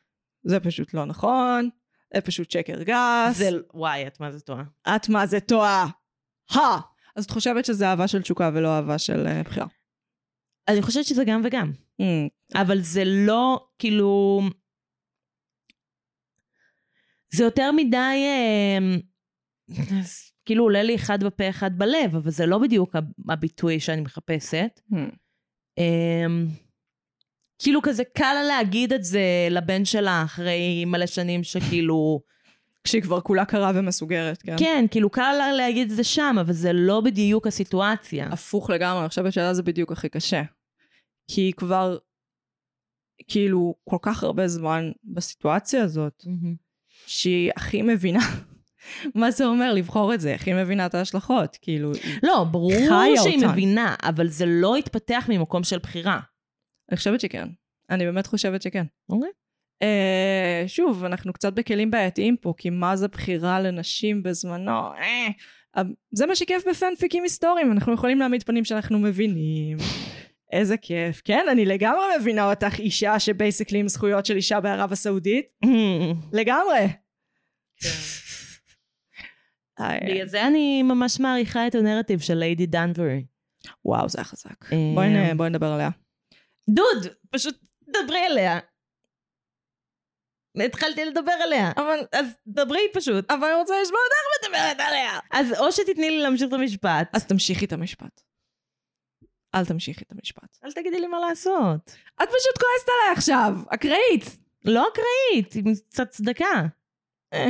זה פשוט לא נכון. זה פשוט שקר גס. זה... וואי, את מה זה טועה. את מה זה טועה. הא! אז את חושבת שזה אהבה של תשוקה ולא אהבה של אה, בחירה. אני חושבת שזה גם וגם. אמ, אבל זה לא, כאילו... זה יותר מדי... אה, אז כאילו עולה לי אחד בפה, אחד בלב, אבל זה לא בדיוק הב- הביטוי שאני מחפשת. אמ. אה, כאילו כזה קל לה להגיד את זה לבן שלה אחרי מלא שנים שכאילו... כשהיא כבר כולה קרה ומסוגרת, כן. כן, כאילו קל לה להגיד את זה שם, אבל זה לא בדיוק הסיטואציה. הפוך לגמרי, אני חושבת שלה זה בדיוק הכי קשה. כי היא כבר, כאילו, כל כך הרבה זמן בסיטואציה הזאת, מהמם. שהיא הכי מבינה מה זה אומר לבחור את זה, הכי מבינה את ההשלכות, כאילו, היא- לא, ברור חיה שהיא אותן. מבינה, אבל זה לא התפתח ממקום של בחירה. אני חושבת שכן. אני באמת חושבת שכן. אוקיי. אה, שוב, אנחנו קצת בכלים בעייתיים פה, כי מה זה בחירה לנשים בזמנו? אה, אה, זה מה שכיף בפנפיקים היסטוריים, אנחנו יכולים להעמיד פנים שאנחנו מבינים. איזה כיף. כן, אני לגמרי מבינה אותך אישה שבייסקלי עם זכויות של אישה בערב הסעודית. לגמרי. אה, בגלל זה אני ממש מעריכה את הנרטיב של ליידי דנברי. וואו, זה היה חזק. אה, בואי נ- בואי נדבר עליה. דוד, פשוט דברי עליה. התחלתי לדבר עליה. אבל... אז דברי פשוט. אבל אני רוצה לשמוע אותך מדברת עליה. אז או שתתני לי להמשיך את המשפט. אז תמשיכי את המשפט. אל תמשיכי את המשפט. אל תגידי לי מה לעשות. את פשוט כועסת עליי עכשיו, אקראית. לא אקראית, עם קצת צדקה. אה.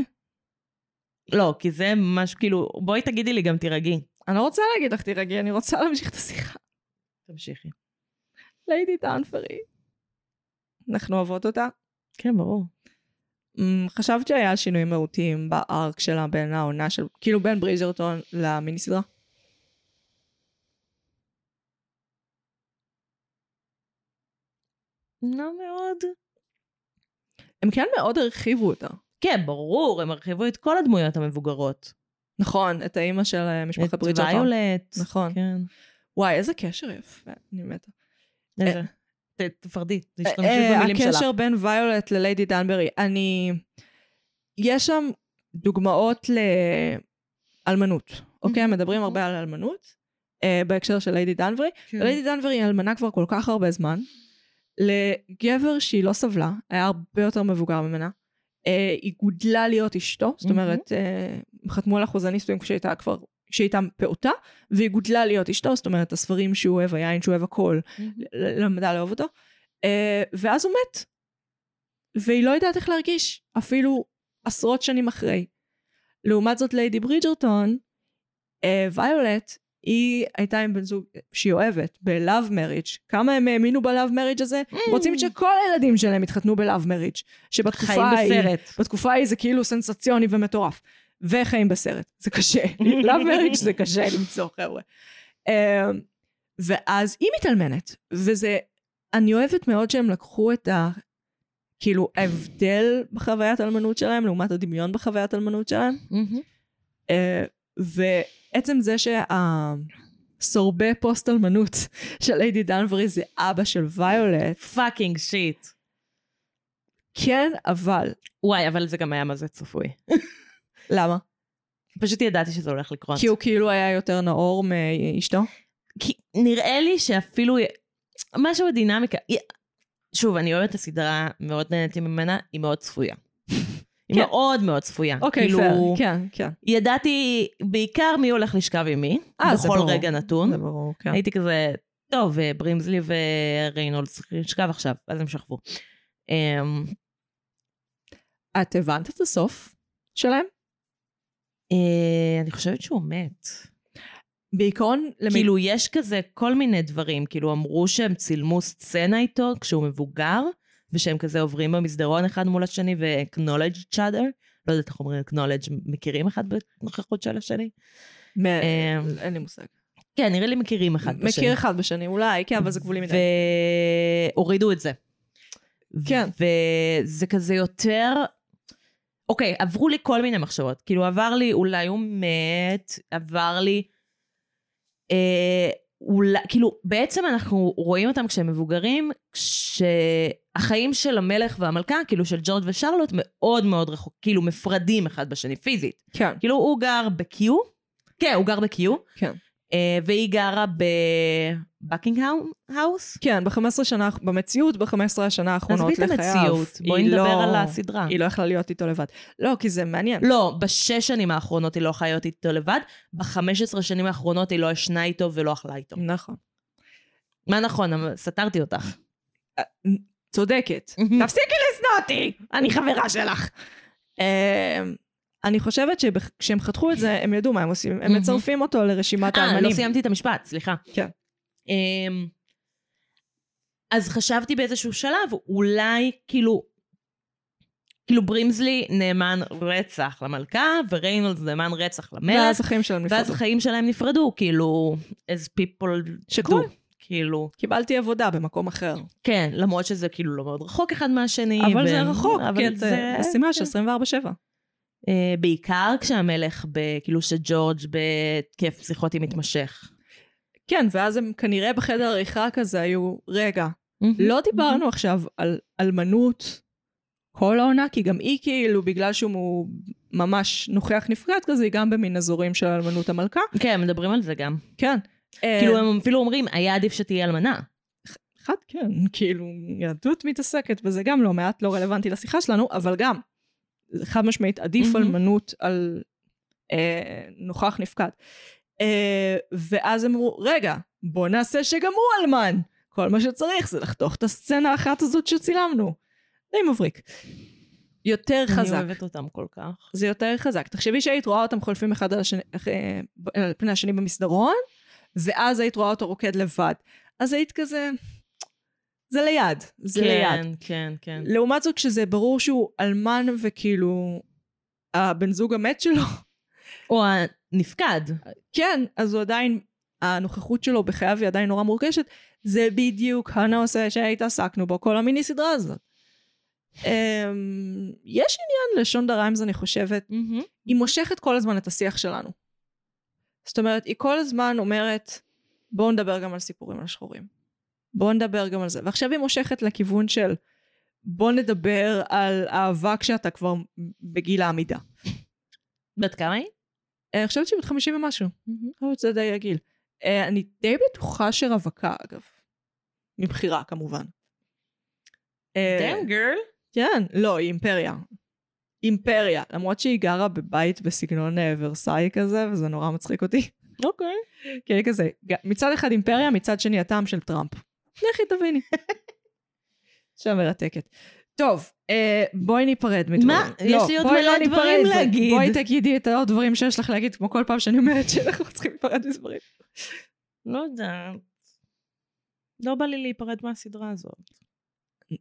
לא, כי זה ממש כאילו, בואי תגידי לי גם תירגעי. אני לא רוצה להגיד לך תירגעי, אני רוצה להמשיך את השיחה. תמשיכי. ליידי טאנפרי. אנחנו אוהבות אותה. כן, ברור. אמ, חשבת שהיה שינויים מהותיים בארק שלה בין העונה של, כאילו בין בריז'רטון למיני סדרה? לא מאוד. הם כן מאוד הרחיבו אותה. כן, ברור, הם הרחיבו את כל הדמויות המבוגרות. נכון, את האימא של אה, משפחת את בריז'רטון. ויולט. נכון. כן. וואי, איזה קשר יפה, אני מתה. איזה? אה, ת- תפרדי, אה, תשתמשי במילים הקשר שלה. בין ויולט לליידי דנברי, אני... יש שם דוגמאות לאלמנות, Mm-hmm. אוקיי? מדברים הרבה על אלמנות אה, בהקשר של ליידי דנברי. כן. ליידי דנברי היא אלמנה כבר כל כך הרבה זמן. לגבר שהיא לא סבלה, היה הרבה יותר מבוגר ממנה. אה, היא גודלה להיות אשתו, זאת מהמם. אומרת, אה, הם חתמו על אחוז הנישואים כשהייתה כבר, כשהייתה פעוטה, והיא גודלה להיות אשתו, זאת אומרת, הספרים שהוא אוהב, היין שהוא אוהב, הכל. ל- למדה לאהוב אותו, אה, ואז הוא מת. והיא לא יודעת איך להרגיש, אפילו עשרות שנים אחרי. לעומת זאת ליידי ברידג'רטון, אה, ויולט, היא הייתה עם בן זוג שהיא אוהבת, ב-Love Marriage. כמה הם האמינו ב-Love Marriage הזה? Mm. רוצים שכל הילדים שלהם יתחתנו ב-Love Marriage. שבתקופה חיים ההיא... בסרט. בתקופה ההיא זה כאילו סנסציוני ומטורף. וחיים בסרט, זה קשה. Love marriage זה קשה למצוא, חבר'ה. אמ, ואז היא מתאלמנת, וזה... אני אוהבת מאוד שהם לקחו את ה... כאילו, ההבדל בחוויית האלמנות שלהם לעומת הדמיון בחוויית האלמנות שלהם. מהמם. אה, ועצם זה שהאלמנות סורבה פוסט אלמנות של ליידי דנברי זה אבא של ויולט. פאקינג שיט. כן, אבל. וואי, אבל זה גם היה מה זה צפוי. למה? פשוט ידעתי שזה הולך לקרות. כי הוא כאילו היה יותר נאור מאשתו? כי נראה לי שאפילו משהו בדינמיקה. שוב, אני אוהבת את הסדרה, מאוד נהניתי ממנה, היא מאוד צפויה. היא כן. מאוד מאוד צפויה. אוקיי, כאילו, פייר. כן, כן. ידעתי בעיקר מי הולך לשכב עם מי, אה, זה בכל ברור. רגע נתון. זה ברור, כן. הייתי כזה, טוב, אה, ברימזלי וריינולדס צריכים לשכב עכשיו, אז הם שכבו. אמ, את הבנת את הסוף שלהם? אה, אני חושבת שהוא מת. בעיקרון, למי... כאילו, יש כזה כל מיני דברים, כאילו, אמרו שהם צילמו סצנה איתו כשהוא מבוגר, ושהם כזה עוברים במסדרון אחד מול השני ו-acknowledge each other. לא יודעת איך אומרים acknowledge, מכירים אחד בנוכחות של השני? מ- אמ, אה, אין לי מושג. כן, נראה לי מכירים אחד בשני. מכיר אחד בשני, אולי, כן, אבל זה גבולי מדי. והורידו את זה. כן. וזה כזה יותר... אוקיי, עברו לי כל מיני מחשבות. כאילו, עבר לי, אולי הוא מת, עבר לי... אה, אולי... כאילו, בעצם אנחנו רואים אותם כשהם מבוגרים, כשהחיים של המלך והמלכה, כאילו של ג'ורג' ושרלוט, מאוד מאוד רחוק, כאילו מפרדים אחד בשני, פיזית. כן, כאילו, הוא גר בקיו, כן, הוא גר בקיו, כן. אה, והיא גרה בבקינגהאום האוס. כן, ב-15 שנה, במציאות, ב-15 השנה האחרונות עזבי את לחייו. המציאות, בואי היא נדבר לא- על הסדרה. היא לא יכלה להיות איתו לבד. לא, כי זה מעניין. לא, בשש שנים האחרונות היא לא חיה איתו לבד, בחמש עשרה שנים האחרונות היא לא ישנה איתו ולא אכלה איתו. נכון. מה נכון, אבל סתרתי אותך. צודקת. תפסיקי לשנוא אותי, אני חברה שלך. אמ, אני חושבת שכשהם חתכו את זה, הם ידעו מה הם עושים. הם מהמם. מצרפים אותו לרשימת אה, האלמנים. לא סיימתי את המשפט, סליחה. כן. אמ, אז חשבתי באיזשהו שלב, אולי כאילו, כאילו ברימזלי נאמן רצח למלכה, וריינולדס נאמן רצח למלך, ואז החיים שלהם ואז נפרדו. החיים שלהם נפרדו, כאילו, as people שקול. do, כאילו, קיבלתי עבודה במקום אחר. כן, למרות שזה כאילו לא מאוד רחוק אחד מהשני. אבל ו- זה רחוק, אבל כן. כי זה משימה של 24-7. אה, בעיקר כשהמלך, ב- כאילו שג'ורג' בהתקף פסיכוטי מתמשך. כן, ואז הם כנראה בחדר עריכה כזה היו, רגע, לא דיברנו עכשיו על אלמנות כל העונה, כי גם היא כאילו, בגלל שהוא ממש נוכח נפקד כזה, היא גם במין אזורים של אלמנות המלכה. כן, מדברים על זה גם. כן. כאילו הם אפילו אומרים, היה עדיף שתהיה אלמנה. אחד כן, כאילו, יהדות מתעסקת בזה גם לא מעט, לא רלוונטי לשיחה שלנו, אבל גם, חד משמעית, עדיף מהמם. אלמנות על אה, נוכח נפקד. אה, ואז הם אמרו, רגע, בוא נעשה שגם הוא אלמן. כל מה שצריך זה לחתוך את הסצנה האחת הזאת שצילמנו. די מבריק. יותר אני חזק. אוהבת אותם כל כך. זה יותר חזק. תחשבי שהיית רואה אותם חולפים אחד על, השני, אח- אה, ב- על פני השני במסדרון, ואז היית רואה אותו רוקד לבד. אז היית כזה... זה ליד, זה כן, ליד. כן, כן. לעומת זאת, כשזה ברור שהוא אלמן וכאילו הבן זוג המת שלו, או הנפקד. כן, אז הוא עדיין, הנוכחות שלו בחייו היא עדיין נורא מורגשת, זה בדיוק הנושא שהתעסקנו בו כל המיני סדרה הזאת. אמ, יש עניין לשונדה ריימס, אני חושבת, מהמם. היא מושכת כל הזמן את השיח שלנו. זאת אומרת, היא כל הזמן אומרת, בואו נדבר גם על סיפורים על שחורים. בואו נדבר גם על זה. ועכשיו היא מושכת לכיוון של, בואו נדבר על אהבה כשאתה כבר בגיל העמידה. בת כמה היא? אה, אני חושבת שהיא בת 50 ומשהו. אני חושבת שזה די רגיל. אה, אני די בטוחה שרווקה, אגב. מבחירה, כמובן. אה, דאם גרל. כן, לא, היא אימפריה. אימפריה. למרות שהיא גרה בבית בסגנון אה, ורסאי כזה, וזה נורא מצחיק אותי. אוקיי. כי היא כזה, ג- מצד אחד אימפריה, מצד שני הטעם של טראמפ. לכי תביני. אישה מרתקת. טוב, אה, בואי ניפרד מדברים. מה? יש לי עוד בואי מלא לא ניפרד. דברים להגיד. בואי תגידי את העוד דברים שיש לך להגיד, כמו כל פעם שאני אומרת שאנחנו צריכים להיפרד מספרים. לא יודעת. לא בא לי להיפרד מהסדרה הזאת.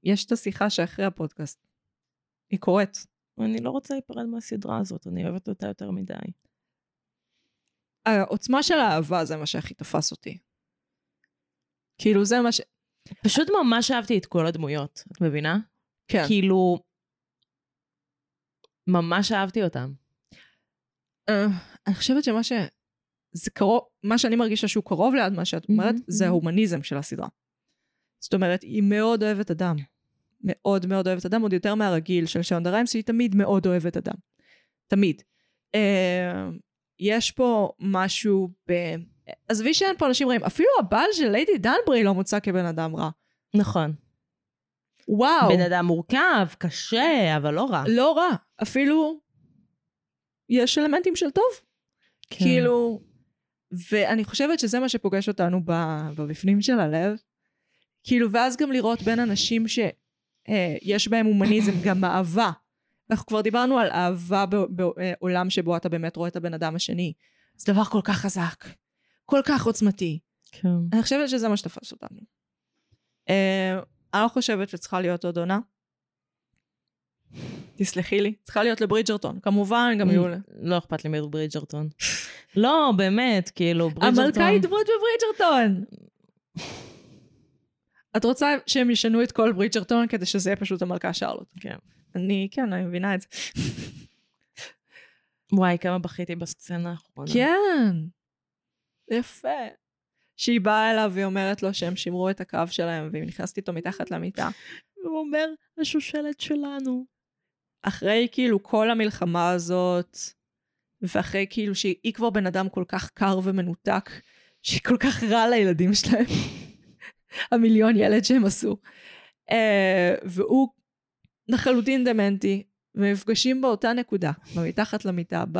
יש את השיחה שאחרי הפודקאסט. היא קורית. אני לא רוצה להיפרד מהסדרה הזאת, אני אוהבת אותה יותר מדי. העוצמה של האהבה זה מה שהכי תפס אותי. כאילו זה מה ש... פשוט ממש אהבתי את כל הדמויות, את מבינה? כן. כי... כאילו, ממש אהבתי אותם. אה, אני חושבת שמה ש... זה קרוב... מה שאני מרגישה שהוא קרוב ליד מה שאת אומרת, זה ההומניזם של הסדרה. זאת אומרת, היא מאוד אוהבת אדם. מאוד מאוד אוהבת אדם, עוד יותר מהרגיל של שעון דריים, שהיא תמיד מאוד אוהבת אדם. תמיד. אה, יש פה משהו ב... עזבי שאין פה אנשים רעים, אפילו הבעל של ליידי דנברי לא מוצא כבן אדם רע. נכון. וואו, בן אדם מורכב, קשה, אבל לא רע. לא רע, אפילו יש אלמנטים של טוב. כן. כאילו, ואני חושבת שזה מה שפוגש אותנו ב- בבפנים של הלב. כאילו, ואז גם לראות בין אנשים שיש אה, יש בהם הומניזם גם אהבה. אנחנו כבר דיברנו על אהבה בעולם שבו אתה באמת רואה את הבן אדם השני. זה דבר כל כך חזק, כל כך עוצמתי. כן. אני חושבת שזה מה שתפס אותנו. אה, אני לא חושבת שצריכה להיות עוד עונה. תסלחי לי. צריכה להיות לברידג'רטון. כמובן, גם יהיו... ל- לא אכפת לי מברידג'רטון. לא, באמת, כאילו, ברידג'רטון... המלכה היא דמות בברידג'רטון! את רוצה שהם ישנו את כל ברידג'רטון כדי שזה יהיה פשוט המלכה שרלוט. כן. אני, כן, אני מבינה את זה. וואי, כמה בכיתי בסצנה האחרונה. כן. יפה. שהיא באה אליו והיא אומרת לו שהם שימרו את הקו שלהם והיא נכנסת איתו מתחת למיטה. הוא אומר, השושלת שלנו. אחרי כאילו כל המלחמה הזאת, ואחרי כאילו שהיא כבר בן אדם כל כך קר ומנותק, שכל כך רע לילדים שלהם, המיליון ילד שהם עשו. אה, והוא לחלוטין דמנטי, ונפגשים באותה נקודה, מתחת למיטה, ב,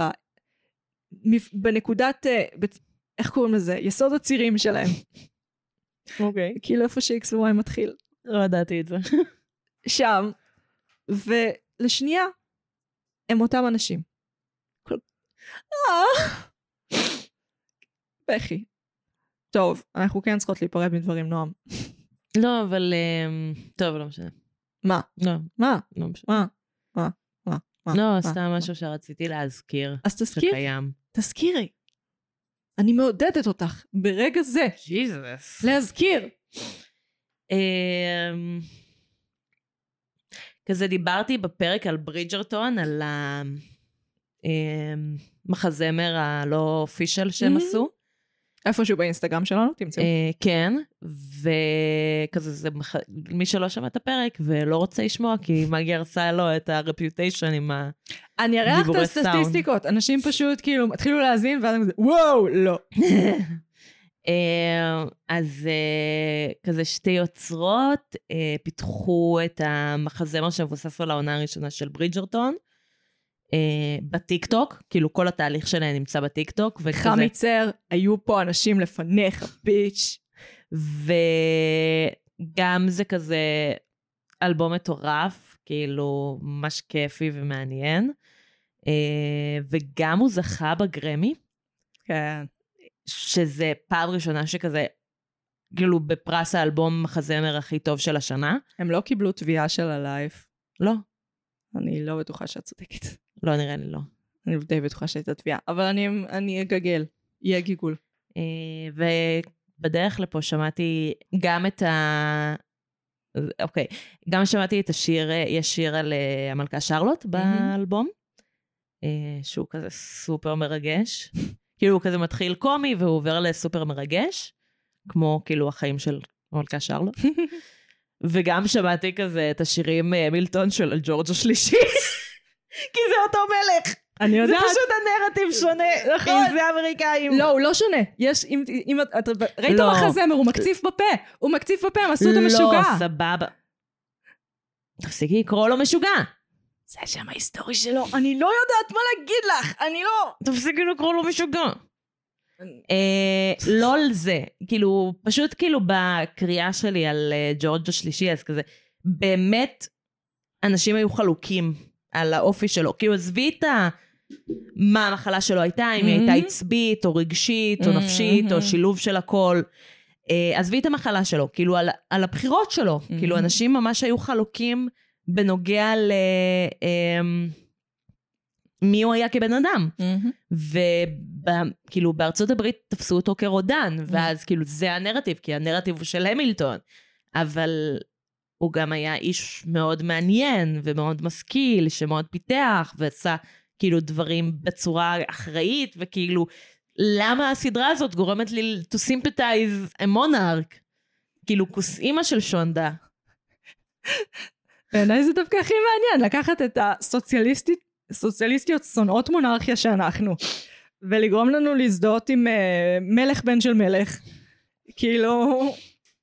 מפ- בנקודת, אה, בצ- איך קוראים לזה? יסוד הצירים שלהם. אוקיי. כאילו איפה ש-X ו-Y מתחיל. לא ידעתי את זה. שם, ולשנייה, הם אותם אנשים. כל- אה. בכי. טוב, אנחנו כן צריכות להיפרד מדברים, נועם. לא, אבל... אמ, טוב, לא משנה. מה? לא, מה? לא משנה. מה? מה? מה? מה? לא, מה? סתם משהו שרציתי להזכיר. אז תזכירי, שקיים. תזכירי. אני מעודדת אותך, ברגע זה, ג'יזוס. להזכיר. אמ, כזה דיברתי בפרק על ברידג'רטון, על המחזמר הלא אופישל שהם Mhm. עשו. איפשהו באינסטגרם שלנו, תמצאו. אה, כן, וכזה זה, מח... מי שלא שמע את הפרק ולא רוצה לשמוע, כי מגי הרסה לו את הרפיוטיישן עם ה... אני אראה לך את דיבורי אה, סאונד. הסטטיסטיקות, אנשים פשוט כאילו התחילו להאזין, ואז הם כזה, וואו, לא. אה, אז אה, כזה שתי יוצרות אה, פיתחו את המחזמר שמבוסס על העונה הראשונה של ברידג'רטון. אה, בטיקטוק, כאילו כל התהליך שלהן נמצא בטיקטוק, וכזה, חמיצר, היו פה אנשים לפניך, ביץ'. וגם זה כזה אלבום מטורף, כאילו ממש כיפי ומעניין, אה, וגם הוא זכה בגרמי, כן. שזה פעם ראשונה שכזה, כאילו בפרס האלבום מחזמר הכי טוב של השנה. הם לא קיבלו תביעה של הלייף. לא, אני לא בטוחה שאת צודקת. לא נראה לי לא. אני די בטוחה שהייתה תביעה. אבל אני, אני אגגל. יהיה גיגול. אה, ובדרך לפה שמעתי גם את ה... אוקיי, גם שמעתי את השיר, אה, יש שיר על אה, המלכה שרלוט באלבום, אה, שהוא כזה סופר מרגש. כאילו הוא כזה מתחיל קומי והוא עובר לסופר מרגש, כמו כאילו החיים של המלכה שרלוט. וגם שמעתי כזה את השירים אה, מילטון של ג'ורג' השלישי, כי זה אותו מלך. אני זה יודעת. פשוט הנרטיב שונה, נכון. אם זה אמריקאים. לא, הוא לא שונה. יש, אם, אם את, את ראית לא. המחזמר, הוא מקציף בפה. הוא מקציף בפה, הם עשו אותו משוגע. לא, סבבה. תפסיקי לקרוא לו משוגע. זה השם ההיסטורי שלו. אני לא יודעת מה להגיד לך. אני לא... תפסיקי לקרוא לו משוגע. אה, לא על זה. כאילו, פשוט כאילו בקריאה שלי על אה, ג'ורג' השלישי, אז כזה, באמת, אנשים היו חלוקים על האופי שלו. כאילו, עזבי את ה... מה המחלה שלו הייתה, אם היא מהמם. הייתה עצבית, או רגשית, או נפשית, או שילוב של הכל. אה, עזבי את המחלה שלו, כאילו על, על הבחירות שלו. Mm-hmm. כאילו אנשים ממש היו חלוקים בנוגע ל... אה, מי הוא היה כבן אדם. וכאילו כאילו, בארצות הברית תפסו אותו כרודן, ואז כאילו זה הנרטיב, כי הנרטיב הוא של המילטון. אבל הוא גם היה איש מאוד מעניין ומאוד משכיל, שמאוד פיתח ועשה כאילו דברים בצורה אחראית, וכאילו למה הסדרה הזאת גורמת לי to sympathize a monarch? כאילו, כוס אימא של שונדה. בעיניי זה דווקא הכי מעניין, לקחת את הסוציאליסטית, סוציאליסטיות שונאות מונרכיה שאנחנו, ולגרום לנו להזדהות עם אה, מלך בן של מלך. כאילו,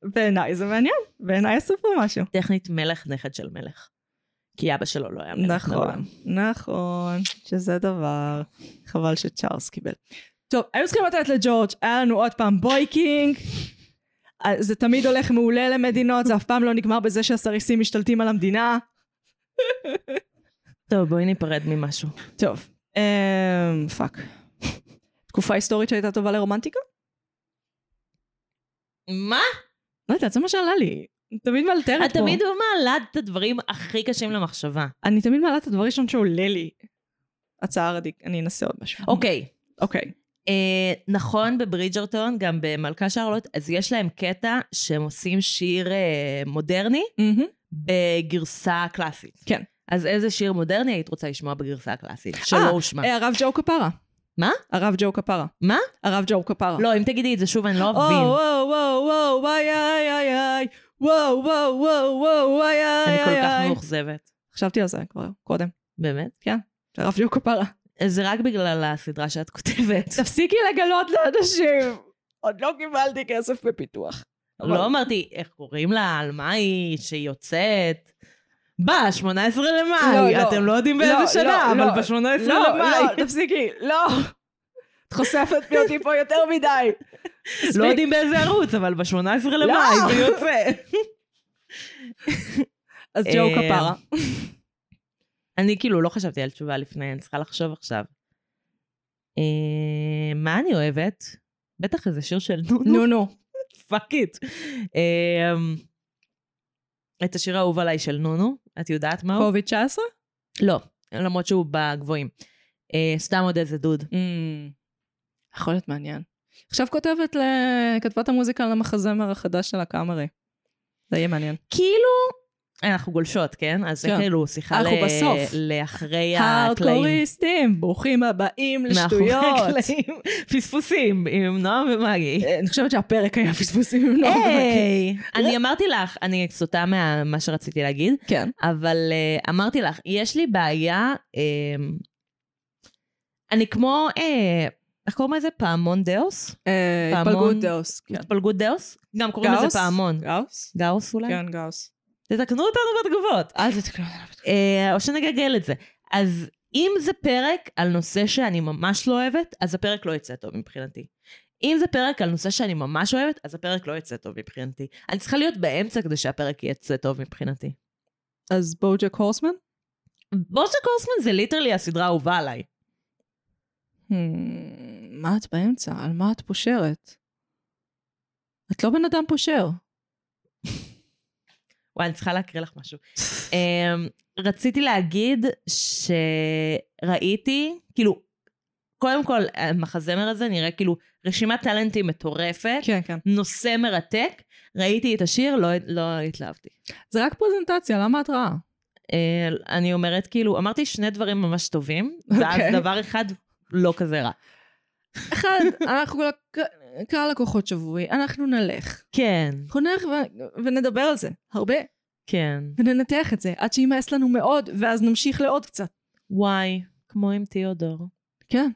בעיניי זה מעניין, בעיניי עשו פה משהו. טכנית מלך נכד של מלך. כי אבא שלו לא היה מלך. מעולם. נכון, כן, שזה דבר. חבל שצ'ארלס קיבל. טוב, היו צריכים לתת לג'ורג', היה לנו עוד פעם בויקינג. אה, זה תמיד הולך מעולה למדינות, זה אף פעם לא נגמר בזה שהסריסים משתלטים על המדינה. טוב, בואי ניפרד ממשהו. טוב, אמ... פאק. תקופה היסטורית שהייתה טובה לרומנטיקה? מה? לא יודעת, זה מה שעלה לי. אני תמיד מאלתרת פה. את תמיד מעלה את הדברים הכי קשים למחשבה. אני תמיד מעלה את הדבר הראשון שעולה לי. הצעה רדיק, אני אנסה עוד משהו. אוקיי, אוקיי. אה, נכון בברידג'רטון, גם במלכה שרלוט, אז יש להם קטע שהם עושים שיר אה, מודרני מהמם. בגרסה קלאסית. כן. אז איזה שיר מודרני היית רוצה לשמוע בגרסה הקלאסית? שלא אה, הושמע. אה, הרב ג'ו קפרה. מה? הרב ג'ו קפרה. מה? הרב ג'ו קפרה. לא, אם תגידי את זה שוב, אני לא וואו אבין. וואו וואו וואו וואי איי איי איי וואו וואו וואו וואו וואי איי אני איי כל כך איי. מאוכזבת. חשבתי על זה כבר קודם. באמת? הרב ג'ו קפרה. זה רק בגלל הסדרה שאת כותבת. תפסיקי לגלות לאנשים. עוד לא קיבלתי כסף בפיתוח. לא אמרתי איך קוראים לה, על מה היא, שהיא יוצאת. ב-18 לא, למאי, לא. אתם לא יודעים לא, באיזה שנה, לא, אבל לא. ב-18 לא, למאי. לא, תפסיקי, לא. את חושפת לי אותי פה יותר מדי. לא יודעים באיזה ערוץ, אבל ב-18 לא. למאי זה יוצא. אז ג'ו אה, כפרה. אני כאילו לא חשבתי על תשובה לפני, אני צריכה לחשוב עכשיו. אה, מה אני אוהבת? בטח איזה שיר של נונו, נו נו. פאק איט. אה, את השיר האהוב עליי של נונו, את יודעת מה הוא? קוביד 19? לא, למרות שהוא בגבוהים. אה, סתם עוד איזה דוד. יכול להיות מעניין. עכשיו כותבת לכתבת המוזיקה למחזמר החדש של הקאמרי. זה יהיה מעניין. כאילו... אנחנו גולשות, כן? אז זה כן. כאילו שיחה אנחנו ל- בסוף. לאחרי הקלעים. הארדקוריסטים, ברוכים הבאים לשטויות. מאחורי הקלעים. פספוסים עם נועם ומגי. אה, אני חושבת שהפרק היה פספוסים לא עם נוער. היי, אוקיי. אה. אני אמרתי לך, אני סוטה ממה שרציתי להגיד, כן. אבל אה, אמרתי לך, יש לי בעיה, אה, אני כמו, אה, איך קוראים לזה? פעמון דאוס? אה, פעמון. התפלגות דאוס. כן. התפלגות דאוס? גם קוראים לזה גאוס? פעמון. גאוס? גאוס אולי? כן, גאוס. תתקנו אותנו בתגובות. אל תתקנו אותנו. אה, או שנגגל את זה. אז אם זה פרק על נושא שאני ממש לא אוהבת, אז הפרק לא יצא טוב מבחינתי. אם זה פרק על נושא שאני ממש אוהבת, אז הפרק לא יצא טוב מבחינתי. אני צריכה להיות באמצע כדי שהפרק יצא טוב מבחינתי. אז בוג'ק הורסמן? בוז'ה קורסמן זה ליטרלי הסדרה האהובה עליי. Hmm, מה את באמצע? על מה את פושרת? את לא בן אדם פושר. וואי, אני צריכה להקריא לך משהו. אמ, רציתי להגיד שראיתי, כאילו, קודם כל, המחזמר הזה נראה כאילו רשימת טאלנטים מטורפת, כן, כן. נושא מרתק. ראיתי את השיר, לא, לא התלהבתי. זה רק פרזנטציה, למה את רעה? אה, אני אומרת, כאילו, אמרתי שני דברים ממש טובים, ואז אוקיי. דבר אחד לא כזה רע. אחד, אנחנו לק- קהל לקוחות שבוי, אנחנו נלך. כן, אנחנו נלך ו- ונדבר על זה, הרבה, כן. וננתח את זה, עד שימאס לנו מאוד, ואז נמשיך לעוד קצת. וואי, כמו עם תיאודור. כן.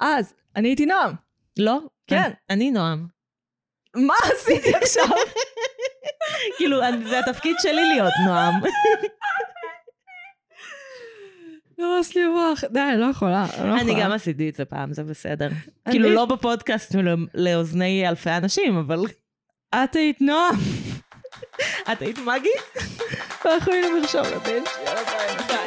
אז, אני הייתי נועם. לא? כן. אני, אני נועם. מה עשיתי עכשיו? כאילו, אני- זה התפקיד שלי להיות נועם. נכון. נמאס לי רוח. די, לא יכולה. לא אני יכולה. גם עשיתי את זה פעם, זה בסדר. כאילו, אני- לא בפודקאסט לא- לאוזני אלפי אנשים, אבל את היית נועם. את היית מגי? ואנחנו היינו מרשום לבן שלי. לא יאללה, ביי.